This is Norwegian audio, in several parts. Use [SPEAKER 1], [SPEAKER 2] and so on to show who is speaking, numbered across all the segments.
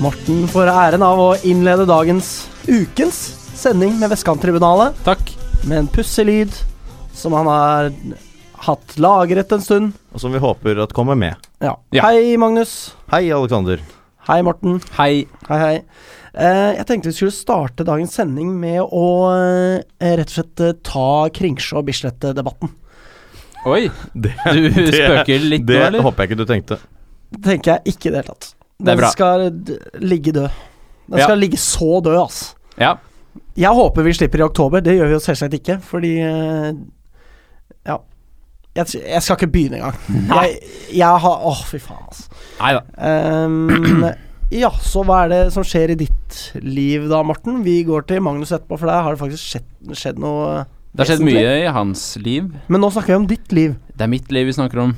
[SPEAKER 1] Morten får æren av å innlede dagens ukens sending med Vestkanttribunalet
[SPEAKER 2] Takk.
[SPEAKER 1] med en pussig lyd som han har hatt lagret en stund.
[SPEAKER 3] Og som vi håper at kommer med.
[SPEAKER 1] Ja.
[SPEAKER 2] Ja.
[SPEAKER 1] Hei, Magnus.
[SPEAKER 3] Hei, Alexander.
[SPEAKER 1] Hei, Morten.
[SPEAKER 2] Hei.
[SPEAKER 1] Hei, hei. Eh, jeg tenkte vi skulle starte dagens sending med å eh, rett og slett eh, ta Kringsjå- og Bislett-debatten.
[SPEAKER 2] Oi,
[SPEAKER 3] Det,
[SPEAKER 2] du spøker litt nå,
[SPEAKER 3] det
[SPEAKER 2] eller?
[SPEAKER 3] håper jeg ikke du tenkte.
[SPEAKER 1] Det tenker jeg ikke i det hele tatt.
[SPEAKER 2] er
[SPEAKER 1] Den
[SPEAKER 2] bra.
[SPEAKER 1] skal d- ligge død. Den
[SPEAKER 2] Ja.
[SPEAKER 1] skal ligge så død, ass.
[SPEAKER 2] Ja.
[SPEAKER 1] Jeg håper vi slipper i oktober. Det gjør vi jo selvsagt ikke, fordi eh, Ja. Jeg, t- jeg skal ikke begynne engang. Jeg, jeg har Åh, fy faen, altså.
[SPEAKER 2] Nei da.
[SPEAKER 1] Ehm, ja, så hva er det som skjer i ditt liv da, Morten? Vi går til Magnus etterpå, for der har det faktisk skjedd, skjedd noe
[SPEAKER 2] Det har skjedd
[SPEAKER 1] vesentlig.
[SPEAKER 2] mye i hans liv.
[SPEAKER 1] Men nå snakker vi om ditt liv.
[SPEAKER 2] Det er mitt liv vi snakker om.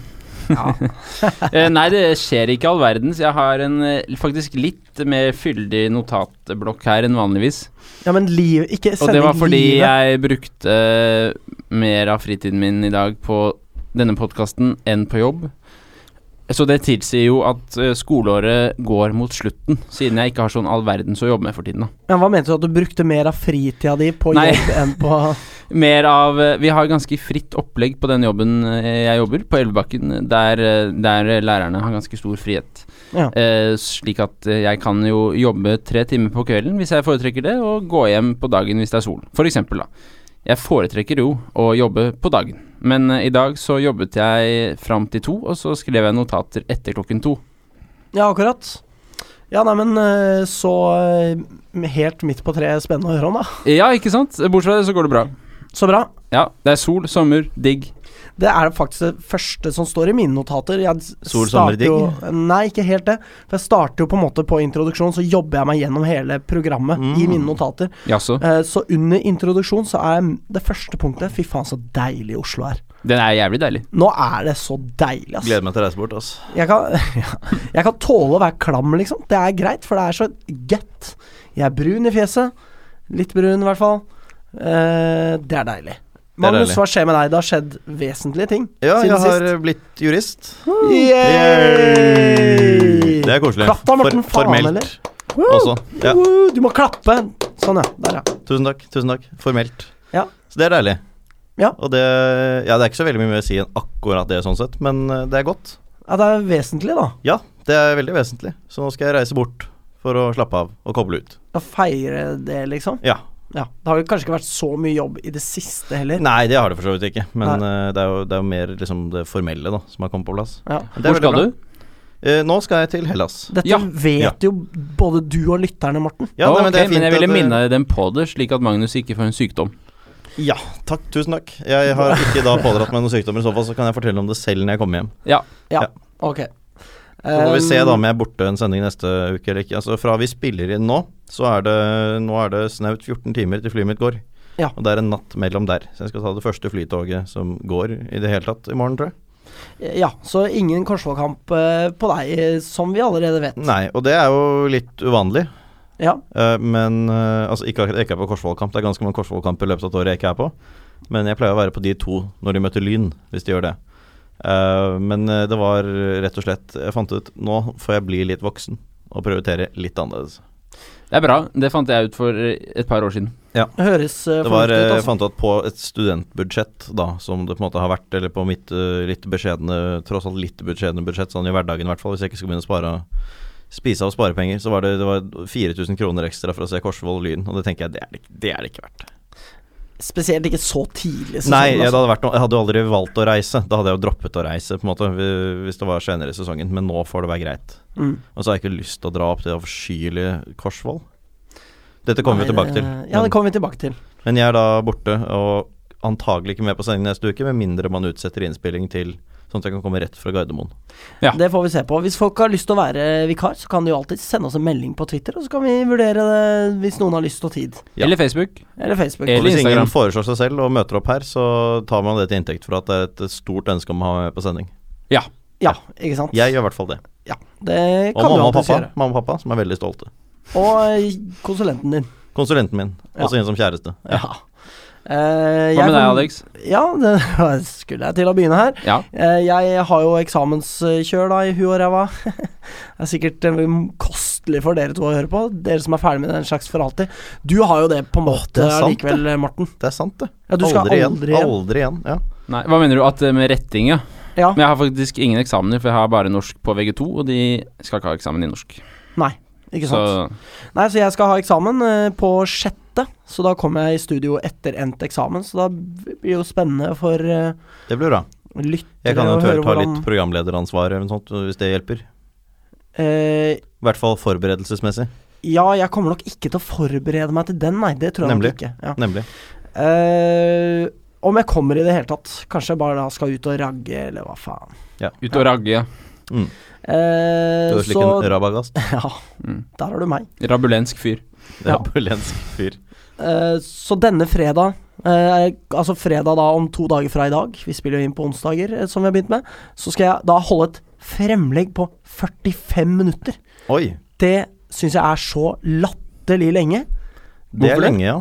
[SPEAKER 2] Eh, Nei, det skjer ikke all verdens. Jeg har en eh, faktisk litt mer fyldig notatblokk her enn vanligvis.
[SPEAKER 1] Ja, men liv Ikke
[SPEAKER 2] Og
[SPEAKER 1] sending
[SPEAKER 2] det var fordi
[SPEAKER 1] livet.
[SPEAKER 2] jeg brukte eh, mer av fritiden min i dag på denne podkasten enn på jobb. Så det tilsier jo at eh, skoleåret går mot slutten, siden jeg ikke har sånn all verdens å jobbe med for tiden. da
[SPEAKER 1] Ja, hva mente du at du brukte mer av fritida di på
[SPEAKER 2] Nei.
[SPEAKER 1] jobb enn på
[SPEAKER 2] Mer av eh, Vi har ganske fritt opplegg på den jobben eh, jeg jobber, på Elvebakken, der, eh, der lærerne har ganske stor frihet.
[SPEAKER 1] Ja.
[SPEAKER 2] Eh, slik at eh, jeg kan jo jobbe tre timer på kvelden hvis jeg foretrekker det, og gå hjem på dagen hvis det er sol. For eksempel, da. Jeg foretrekker jo å jobbe på dagen, men eh, i dag så jobbet jeg fram til to, og så skrev jeg notater etter klokken to.
[SPEAKER 1] Ja, akkurat. Ja, neimen så eh, helt midt på treet spennende å høre om, da.
[SPEAKER 2] Ja, ikke sant? Bortsett fra det så går det bra.
[SPEAKER 1] Så bra.
[SPEAKER 2] Ja, det er sol, sommer, digg.
[SPEAKER 1] Det er faktisk det første som står i mine notater. Jeg s-
[SPEAKER 3] Sol, sommer,
[SPEAKER 1] starter jo- Nei, ikke helt det. For jeg starter jo på en måte på introduksjon, så jobber jeg meg gjennom hele programmet
[SPEAKER 3] Mm.
[SPEAKER 1] i mine notater.
[SPEAKER 2] Jaså.
[SPEAKER 1] Eh, så under introduksjon så er m- det første punktet Fy faen, så deilig Oslo er.
[SPEAKER 2] Den er jævlig deilig.
[SPEAKER 1] Nå er det så deilig, ass.
[SPEAKER 3] Gleder meg til å reise bort. ass.
[SPEAKER 1] Jeg kan, ja, jeg kan tåle å være klam, liksom. Det er greit, for det er så godt. Jeg er brun i fjeset. Litt brun, i hvert fall. Eh, det er deilig. Magnus,
[SPEAKER 3] deilig.
[SPEAKER 1] hva skjer med deg? Det har skjedd vesentlige ting
[SPEAKER 3] Ja,
[SPEAKER 1] siden
[SPEAKER 3] jeg har
[SPEAKER 1] sist.
[SPEAKER 3] eh, blitt jurist.
[SPEAKER 1] Yay!
[SPEAKER 3] Det er koselig.
[SPEAKER 1] Klapp da, Morten. faen, eller?
[SPEAKER 3] formelt
[SPEAKER 1] Woo!
[SPEAKER 3] også. Ja,
[SPEAKER 1] Woo! Du må klappe. Sånn, ja. Der, ja.
[SPEAKER 3] tusen takk. Tusen takk. Formelt.
[SPEAKER 1] Ja.
[SPEAKER 3] Så det er deilig.
[SPEAKER 1] Ja.
[SPEAKER 3] Og det, ja, det er ikke så veldig mye mer å si enn akkurat det, sånn sett, men eh, det er godt.
[SPEAKER 1] ja. Det er vesentlig, da.
[SPEAKER 3] Ja, det er veldig vesentlig. Så nå skal jeg reise bort for å slappe av og koble ut.
[SPEAKER 1] Å feire det, liksom.
[SPEAKER 3] Ja.
[SPEAKER 1] Ja. Det har jo kanskje ikke vært så mye jobb i det siste heller.
[SPEAKER 3] Nei, det har det for så vidt ikke, men eh, det, er jo, det er jo mer liksom det formelle da, som har kommet på plass.
[SPEAKER 1] Ja.
[SPEAKER 3] Det er
[SPEAKER 2] Hvor
[SPEAKER 3] veldig
[SPEAKER 2] skal
[SPEAKER 3] bra.
[SPEAKER 2] du?
[SPEAKER 3] Eh, nå skal jeg til Hellas.
[SPEAKER 1] Dette
[SPEAKER 2] Ja.
[SPEAKER 1] vet
[SPEAKER 3] Ja.
[SPEAKER 1] jo både du og lytterne, Morten.
[SPEAKER 3] Ja, nei,
[SPEAKER 2] ok,
[SPEAKER 3] men det er fint
[SPEAKER 2] men jeg ville
[SPEAKER 3] at eh, det-
[SPEAKER 2] minne dem på det, slik at Magnus ikke får en sykdom.
[SPEAKER 3] Ja, takk, tusen takk. Jeg har ikke da pådratt meg noen sykdommer, i så fall så kan jeg fortelle om det selv når jeg kommer hjem.
[SPEAKER 2] Ja,
[SPEAKER 1] Ja.
[SPEAKER 3] Ja.
[SPEAKER 1] Ok.
[SPEAKER 3] Så får vi se da
[SPEAKER 1] Um,
[SPEAKER 3] om jeg er borte en sending neste uke eller ikke. Altså Fra vi spiller inn nå, så er det Nå er det snaut 14 timer til flyet mitt går.
[SPEAKER 1] Ja.
[SPEAKER 3] Og det er en natt mellom der. Så jeg skal ta det første flytoget som går i det hele tatt i morgen, tror jeg.
[SPEAKER 1] Ja, så ingen Korsvollkamp eh, på deg, eh, som vi allerede vet.
[SPEAKER 3] Nei, og det er jo litt uvanlig.
[SPEAKER 1] Ja.
[SPEAKER 3] Eh, men eh, altså ikke akkurat jeg ikke er på Korsvollkamp. Det er ganske mange Korsvollkamper i løpet av et år jeg ikke er på. Men jeg pleier å være på de to når de møter Lyn, hvis de gjør det. Eh, men eh, det var rett og slett Jeg fant ut nå får jeg bli litt voksen og prioritere litt annerledes.
[SPEAKER 2] det er bra. Det fant jeg ut for eh, et par år siden.
[SPEAKER 1] Høres eh,
[SPEAKER 3] Det var,
[SPEAKER 1] fornuftig ut,
[SPEAKER 3] eh, jeg
[SPEAKER 1] altså.
[SPEAKER 3] fant ut at på et studentbudsjett, da, som det på en måte har vært, eller på mitt eh, litt beskjedne, tross alt litt beskjedne budsjett, sånn i hverdagen i hvert fall, hvis jeg ikke skal begynne å spare spise av sparepenger, så var det, det var 4000 kroner ekstra for å se Korsvoll Lyn, og det tenker jeg det er det, ikke- det er det ikke verdt.
[SPEAKER 1] Spesielt ikke så tidlig. i sesongen,
[SPEAKER 3] Nei, jeg, det
[SPEAKER 1] altså.
[SPEAKER 3] hadde vært noe, jeg hadde jo aldri valgt å reise. Da hadde jeg jo droppet å reise, på en måte, vi- hvis det var senere i sesongen. Men nå får det være greit.
[SPEAKER 1] Mm.
[SPEAKER 3] Og så har jeg ikke lyst til å dra opp til det avskyelige Korsvoll. Dette kommer
[SPEAKER 1] Nei,
[SPEAKER 3] vi
[SPEAKER 1] det-
[SPEAKER 3] tilbake til. Mm.
[SPEAKER 1] Ja, det
[SPEAKER 3] Men,
[SPEAKER 1] kommer vi tilbake til.
[SPEAKER 3] men jeg er da borte, og antagelig ikke med på sending neste uke, med mindre man utsetter innspilling til sånn at jeg kan komme rett fra Gardermoen.
[SPEAKER 2] Ja.
[SPEAKER 1] Det får vi se på. Hvis folk har lyst til å være vikar, så kan de jo alltid sende oss en melding på Twitter, og så kan vi vurdere det hvis noen har lyst og tid.
[SPEAKER 3] Ja.
[SPEAKER 2] Eller Facebook.
[SPEAKER 1] Eller Facebook.
[SPEAKER 3] Og
[SPEAKER 2] Eller
[SPEAKER 3] hvis ingen
[SPEAKER 2] Instagram.
[SPEAKER 3] foreslår seg selv og møter opp her, så tar man det til inntekt for at det er et stort ønske om å ha meg på sending.
[SPEAKER 2] Ja.
[SPEAKER 1] Ja, ikke sant?
[SPEAKER 3] Jeg gjør i hvert fall det.
[SPEAKER 1] Ja, det
[SPEAKER 3] Og
[SPEAKER 1] kan du
[SPEAKER 3] mamma og
[SPEAKER 1] alltids
[SPEAKER 3] pappa,
[SPEAKER 1] gjøre.
[SPEAKER 3] mamma og pappa, som er veldig stolte.
[SPEAKER 1] Og eh, konsulenten din.
[SPEAKER 3] Konsulenten min,
[SPEAKER 1] Ja.
[SPEAKER 3] også inn som kjæreste.
[SPEAKER 1] Ja. Eh,
[SPEAKER 2] Hva
[SPEAKER 1] jeg
[SPEAKER 2] med deg,
[SPEAKER 1] kom-
[SPEAKER 2] Alex?
[SPEAKER 1] Ja, det skulle jeg til å begynne her.
[SPEAKER 2] Ja.
[SPEAKER 1] Eh, Jeg har jo eksamenskjør da i huet og ræva. Det er sikkert eh, kostelig for dere to å høre på, dere som er ferdig med den slags for alltid. Du har jo det på en
[SPEAKER 3] det
[SPEAKER 1] måte
[SPEAKER 3] er sant,
[SPEAKER 1] allikevel, Morten.
[SPEAKER 3] Det er sant, det.
[SPEAKER 1] Ja, du skal aldri, igjen.
[SPEAKER 3] Aldri igjen. Ja.
[SPEAKER 2] Nei, hva mener du at eh, med retting, ja?
[SPEAKER 1] Ja,
[SPEAKER 2] Men jeg har faktisk ingen eksamener, for jeg har bare norsk på VG2, og de skal ikke ha eksamen i norsk.
[SPEAKER 1] ikke
[SPEAKER 2] Så
[SPEAKER 1] sant. Nei, så jeg skal ha eksamen eh, på sjette, så da kommer jeg i studio etter endt eksamen. Så da blir det jo spennende for eh,
[SPEAKER 3] Det blir bra. Jeg
[SPEAKER 1] lyttere
[SPEAKER 3] kan
[SPEAKER 1] å høre
[SPEAKER 3] eventuelt ta
[SPEAKER 1] hvordan
[SPEAKER 3] litt programlederansvar eller noe sånt, hvis det hjelper.
[SPEAKER 1] eh,
[SPEAKER 3] I hvert fall forberedelsesmessig.
[SPEAKER 1] Ja, jeg kommer nok ikke til å forberede meg til den, nei. Det tror jeg
[SPEAKER 3] Nemlig.
[SPEAKER 1] nok ikke. Ja.
[SPEAKER 3] Nemlig.
[SPEAKER 1] Eh, om jeg kommer i det hele tatt. Kanskje jeg bare da skal ut og ragge, eller hva faen.
[SPEAKER 2] ut og ragge. ja.
[SPEAKER 3] Mm. Du
[SPEAKER 1] Eh,
[SPEAKER 3] er slik
[SPEAKER 1] så
[SPEAKER 3] en rabagast.
[SPEAKER 1] Ja,
[SPEAKER 2] Mm.
[SPEAKER 1] der har du meg.
[SPEAKER 2] Rabulensk fyr.
[SPEAKER 1] Ja.
[SPEAKER 3] Rabulensk fyr.
[SPEAKER 1] Eh, så denne fredag, eh, altså fredag da om to dager fra i dag, vi spiller jo inn på onsdager, eh, som vi har begynt med, så skal jeg da holde et fremlegg på 45 minutter.
[SPEAKER 3] Oi,
[SPEAKER 1] Det syns jeg er så latterlig lenge.
[SPEAKER 3] det er
[SPEAKER 2] Hvorfor det?
[SPEAKER 3] lenge, ja.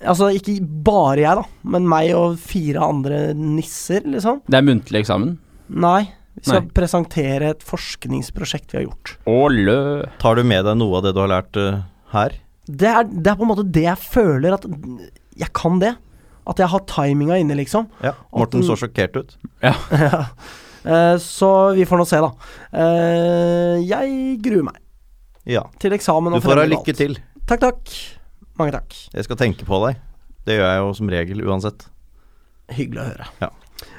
[SPEAKER 1] Altså ikke bare jeg, da, men meg og fire andre nisser, liksom.
[SPEAKER 2] Det er muntlig eksamen.
[SPEAKER 1] Nei. Vi skal
[SPEAKER 2] Nei.
[SPEAKER 1] presentere et forskningsprosjekt vi har gjort.
[SPEAKER 2] Å lø.
[SPEAKER 3] Tar du med deg noe av det du har lært eh, her?
[SPEAKER 1] Det er, det er på en måte det jeg føler at jeg kan det. At jeg har timinga inne, liksom.
[SPEAKER 3] Ja. Morten
[SPEAKER 1] At den-
[SPEAKER 3] så sjokkert ut.
[SPEAKER 1] Eh, Så vi får nå se, da. Eh, Jeg gruer meg
[SPEAKER 3] Ja.
[SPEAKER 1] til eksamen.
[SPEAKER 3] Du
[SPEAKER 1] og
[SPEAKER 3] får ha
[SPEAKER 1] fremlegge
[SPEAKER 3] lykke
[SPEAKER 1] alt.
[SPEAKER 3] til.
[SPEAKER 1] Takk, takk. Mange takk.
[SPEAKER 3] Jeg skal tenke på deg. Det gjør jeg jo som regel uansett.
[SPEAKER 1] Hyggelig å høre.
[SPEAKER 3] Ja.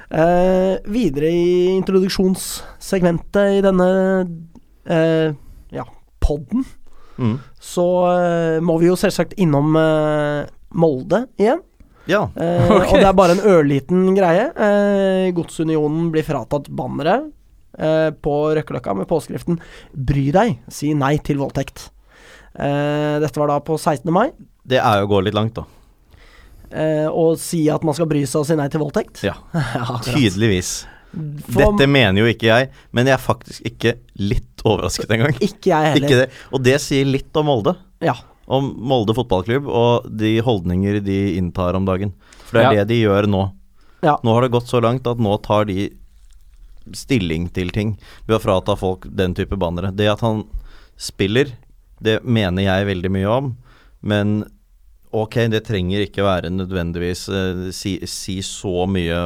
[SPEAKER 1] Eh, videre i introduksjonssegmentet i denne eh, ja, podden,
[SPEAKER 3] Mm.
[SPEAKER 1] så eh, må vi jo selvsagt innom eh, Molde igjen.
[SPEAKER 3] Ja.
[SPEAKER 1] Eh,
[SPEAKER 2] Ok.
[SPEAKER 1] Og det er bare en ørliten greie. Eh, Godsunionen blir fratatt banneret eh, på Røkkeløkka med påskriften 'Bry deg, si nei til voldtekt'. Eh, dette var da på 16. mai.
[SPEAKER 3] Det er jo å gå litt langt, da.
[SPEAKER 1] Eh, å si at man skal bry seg og si nei til voldtekt.
[SPEAKER 3] Ja.
[SPEAKER 1] akkurat.
[SPEAKER 3] Tydeligvis.
[SPEAKER 1] For
[SPEAKER 3] Dette mener jo ikke jeg, men jeg er faktisk ikke litt overrasket engang.
[SPEAKER 1] ikke jeg heller.
[SPEAKER 3] Ikke det. Og det sier litt om Molde.
[SPEAKER 1] Ja.
[SPEAKER 3] Om Molde fotballklubb og de holdninger de inntar om dagen. For det er
[SPEAKER 2] Ja.
[SPEAKER 3] det de gjør nå.
[SPEAKER 1] Ja.
[SPEAKER 3] Nå har det gått så langt at nå tar de stilling til ting ved å frata folk den type bannere. Det at han spiller, det mener jeg veldig mye om, men ok, det trenger ikke være nødvendigvis eh, si, si så mye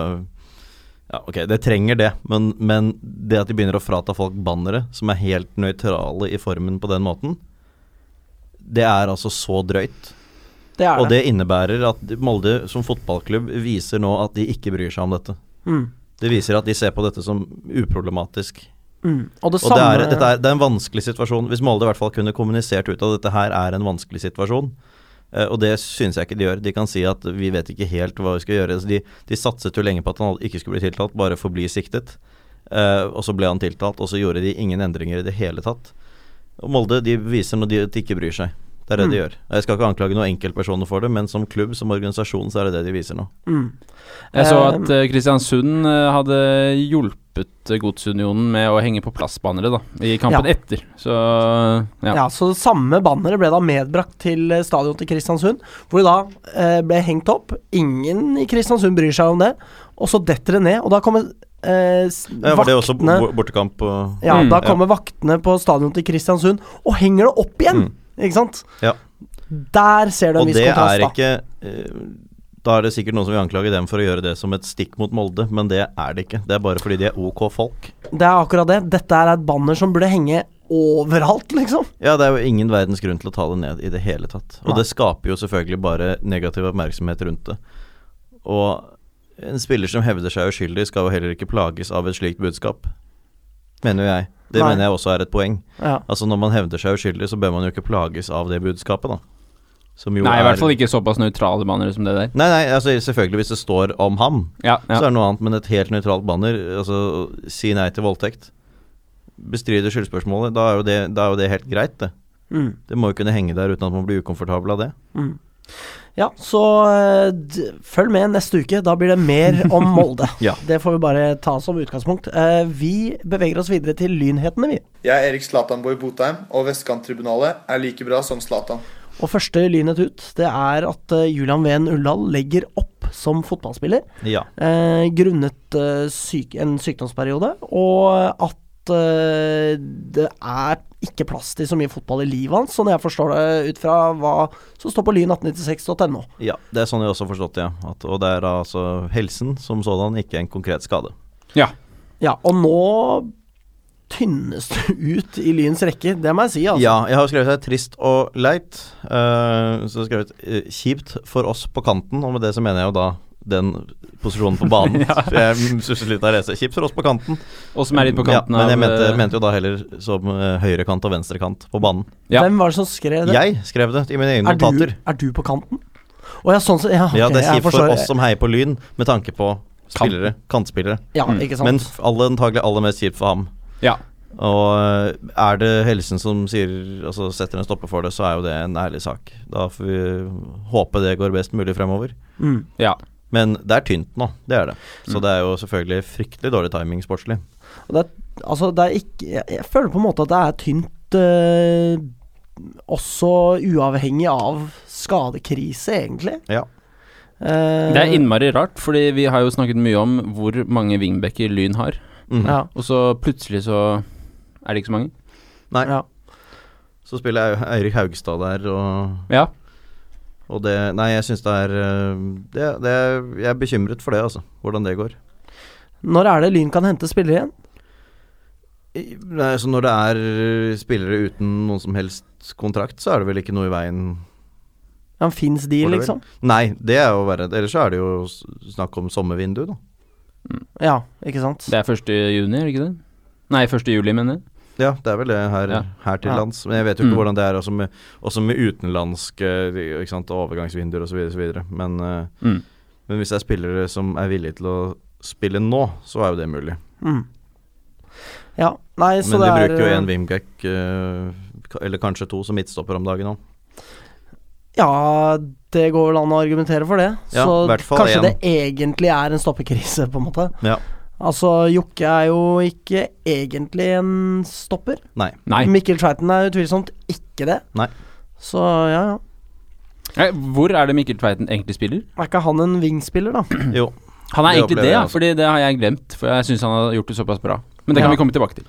[SPEAKER 3] ja, ok, det trenger det, men, men det at de begynner å frata folk bannere som er helt nøytrale i formen på den måten, det er altså så drøyt.
[SPEAKER 1] Det er
[SPEAKER 3] Og
[SPEAKER 1] det.
[SPEAKER 3] det innebærer at Molde som fotballklubb viser nå at de ikke bryr seg om dette.
[SPEAKER 1] Mm.
[SPEAKER 3] Det viser at de ser på dette som uproblematisk.
[SPEAKER 1] Mm. Og det
[SPEAKER 3] Og det
[SPEAKER 1] samme
[SPEAKER 3] er, dette er, det er en vanskelig situasjon. Hvis Molde i hvert fall kunne kommunisert ut at dette her er en vanskelig situasjon, eh, og det syns jeg ikke de gjør. De kan si at vi vet ikke helt hva vi skal gjøre. Så de, de satset jo lenge på at han ikke skulle bli tiltalt, bare forbli siktet. Eh, og så ble han tiltalt, og så gjorde de ingen endringer i det hele tatt. Og Molde de viser når de, at de ikke bryr seg. Det er det de
[SPEAKER 1] Mm.
[SPEAKER 3] gjør. Jeg skal ikke anklage noen enkeltpersoner for det, men som klubb, som organisasjon, så er det det de viser nå.
[SPEAKER 1] mm.
[SPEAKER 2] Jeg så
[SPEAKER 1] Eh,
[SPEAKER 2] at eh, Kristiansund eh, hadde hjulpet eh, Godsunionen med å henge på plassbannere, da, i kampen
[SPEAKER 1] Ja.
[SPEAKER 2] etter. Så ja.
[SPEAKER 1] Ja, så det samme banneret ble da medbrakt til eh, stadion til Kristiansund, hvor det da eh, ble hengt opp. Ingen i Kristiansund bryr seg om det, og så detter det ned. Og da kommer eh, s-
[SPEAKER 3] Ja, var det også
[SPEAKER 1] vaktene
[SPEAKER 3] bo- bortekamp og
[SPEAKER 1] Ja,
[SPEAKER 2] Mm,
[SPEAKER 1] da
[SPEAKER 3] ja.
[SPEAKER 1] kommer vaktene på stadion til Kristiansund og henger det opp igjen!
[SPEAKER 3] Mm.
[SPEAKER 1] Ikke sant?
[SPEAKER 3] Ja.
[SPEAKER 1] Der ser du en
[SPEAKER 3] Og
[SPEAKER 1] viss
[SPEAKER 3] det
[SPEAKER 1] kontrast,
[SPEAKER 3] er
[SPEAKER 1] da.
[SPEAKER 3] ikke eh, Da er det sikkert noen som vil anklage dem for å gjøre det som et stikk mot Molde, men det er det ikke. Det er bare fordi de er ok folk.
[SPEAKER 1] Det er akkurat det. Dette er et banner som burde henge overalt, liksom.
[SPEAKER 3] Ja, det er jo ingen verdens grunn til å ta det ned i det hele tatt. Og
[SPEAKER 1] Nei.
[SPEAKER 3] det skaper jo selvfølgelig bare negativ oppmerksomhet rundt det. Og en spiller som hevder seg uskyldig, skal jo heller ikke plages av et slikt budskap. Mener jo jeg. Det
[SPEAKER 1] Nei.
[SPEAKER 3] mener jeg også er et poeng.
[SPEAKER 1] Ja.
[SPEAKER 3] Altså Når man hevder seg uskyldig, så bør man jo ikke plages av det budskapet, da. Som jo
[SPEAKER 2] Nei, i
[SPEAKER 3] er
[SPEAKER 2] hvert fall ikke såpass nøytrale bannere som det der.
[SPEAKER 3] Nei, nei, altså selvfølgelig hvis det står om ham,
[SPEAKER 2] Ja,
[SPEAKER 3] så
[SPEAKER 2] ja.
[SPEAKER 3] er det noe annet, men et helt nøytralt banner Altså, si nei til voldtekt. Bestride skyldspørsmålet. Da er jo det, da er jo det helt greit, det.
[SPEAKER 1] Mm.
[SPEAKER 3] Det må jo kunne henge der uten at man blir ukomfortabel av det.
[SPEAKER 1] Mm. Ja, så eh, d følg med neste uke. Da blir det mer om Molde.
[SPEAKER 3] Ja.
[SPEAKER 1] Det får vi bare ta som utgangspunkt. Eh, vi beveger oss videre til lynhetene, vi.
[SPEAKER 4] Jeg er Erik Zlatanborg Botheim, og Vestkanttribunalet er like bra som Zlatan.
[SPEAKER 1] Og første lynhet ut, det er at eh, Julian Ven Ullal legger opp som fotballspiller.
[SPEAKER 3] Ja.
[SPEAKER 1] Eh, grunnet eh, syk, en sykdomsperiode, og at eh, det er ikke plass til så mye fotball i livet hans, sånn jeg forstår det ut fra hva som står på lyn1896.no.
[SPEAKER 3] ja. Det er sånn jeg også har forstått det, ja. At, og det er altså helsen som sådan, ikke en konkret skade.
[SPEAKER 2] Ja.
[SPEAKER 1] Ja, og nå tynnes det ut i Lyns rekker, det må jeg si, altså.
[SPEAKER 3] Ja, jeg har skrevet her 'trist og leit'. eh, så har jeg skrevet eh, 'kjipt for oss på kanten', og med det så mener jeg jo da den posisjonen på banen. For Jeg susset litt av å lese. 'Kjipt for oss på kanten'.
[SPEAKER 2] Og som er litt på kanten
[SPEAKER 3] ja, men jeg
[SPEAKER 2] av
[SPEAKER 3] mente,
[SPEAKER 2] eh,
[SPEAKER 3] mente jo da heller som eh, høyre kant og venstre kant på banen.
[SPEAKER 2] Ja.
[SPEAKER 1] Hvem var det som skrev det?
[SPEAKER 3] Jeg skrev det i mine egne
[SPEAKER 1] er, du,
[SPEAKER 3] notater.
[SPEAKER 1] er du på kanten? Å ja, sånn sett. Ja, ok,
[SPEAKER 3] ja, det er
[SPEAKER 1] jeg
[SPEAKER 3] kjipt
[SPEAKER 1] forstår.
[SPEAKER 3] for oss som heier på Lyn, med tanke på spillere, kantspillere.
[SPEAKER 1] Ja,
[SPEAKER 2] Mm.
[SPEAKER 1] ikke sant.
[SPEAKER 3] Men f- alle, antagelig aller mest kjipt for ham.
[SPEAKER 2] Ja.
[SPEAKER 3] Og eh, er det helsen som sier, altså setter en stopper for det, så er jo det en ærlig sak. Da får vi håpe det går best mulig fremover.
[SPEAKER 1] mm.
[SPEAKER 2] ja.
[SPEAKER 3] Men det er tynt nå, det er det. Så
[SPEAKER 2] Mm.
[SPEAKER 3] det er jo selvfølgelig fryktelig dårlig timing sportslig.
[SPEAKER 1] Og det, er- altså, det er ikke jeg, jeg føler på en måte at det er tynt eh, også uavhengig av skadekrise, egentlig.
[SPEAKER 3] Ja.
[SPEAKER 1] Eh,
[SPEAKER 2] Det er innmari rart, fordi vi har jo snakket mye om hvor mange wingbacker Lyn har,
[SPEAKER 3] Mhm.
[SPEAKER 1] ja,
[SPEAKER 2] og så plutselig så er det ikke så mange.
[SPEAKER 3] Nei.
[SPEAKER 1] ja.
[SPEAKER 3] Så spiller Ei- Eirik Haugstad der, og
[SPEAKER 2] Ja.
[SPEAKER 3] Og det Nei, jeg syns det er øh, det, det, Jeg er bekymret for det, altså. Hvordan det går.
[SPEAKER 1] Når er det Lyn kan hente spillere igjen?
[SPEAKER 3] I- Nei, så når det er øh, spillere uten noen som helst kontrakt, så er det vel ikke noe i veien?
[SPEAKER 1] Ja, Fins de,
[SPEAKER 3] Får det vel.
[SPEAKER 1] liksom?
[SPEAKER 3] Nei, det er jo verre. Ellers så er det jo s- snakk om sommervindu, da.
[SPEAKER 1] Ja, ikke sant?
[SPEAKER 2] Det er 1. juni, er det ikke det? Nei, 1. juli, mener jeg.
[SPEAKER 3] Ja, det er vel det her,
[SPEAKER 2] Ja.
[SPEAKER 3] her til
[SPEAKER 1] Ja.
[SPEAKER 3] lands. Men jeg vet jo ikke
[SPEAKER 2] Mm.
[SPEAKER 3] hvordan det er også med, også med utenlandske øh, ikke sant, overgangsvinduer osv. videre Men, øh,
[SPEAKER 2] Mm.
[SPEAKER 3] men hvis det er spillere som er villige til å spille nå, så er jo det mulig.
[SPEAKER 1] Mm. Ja, nei, så
[SPEAKER 3] Men de
[SPEAKER 1] det er eh,
[SPEAKER 3] bruker jo én Wimgek, eller kanskje to, som midtstopper om dagen òg.
[SPEAKER 1] Ja, det går vel an å argumentere for det.
[SPEAKER 3] Ja,
[SPEAKER 1] så
[SPEAKER 3] i hvert fall
[SPEAKER 1] kanskje
[SPEAKER 3] en.
[SPEAKER 1] det egentlig er en stoppekrise, på en måte.
[SPEAKER 3] Ja.
[SPEAKER 1] Altså, Jokke er jo ikke egentlig en stopper.
[SPEAKER 3] Nei.
[SPEAKER 2] Nei.
[SPEAKER 1] Mikkel Tveiten er utvilsomt ikke det.
[SPEAKER 3] Nei.
[SPEAKER 1] Så ja, ja.
[SPEAKER 2] Nei, Eh, Hvor er det Mikkel Tveiten egentlig spiller?
[SPEAKER 1] Er ikke han en wingspiller, da?
[SPEAKER 3] Jo.
[SPEAKER 2] Han er
[SPEAKER 3] Det
[SPEAKER 2] egentlig
[SPEAKER 3] opplever
[SPEAKER 2] det,
[SPEAKER 3] jeg
[SPEAKER 2] ja,
[SPEAKER 3] også.
[SPEAKER 2] fordi det har jeg glemt. For jeg syns han har gjort det såpass bra. Men det kan
[SPEAKER 1] Ja.
[SPEAKER 2] vi komme tilbake til.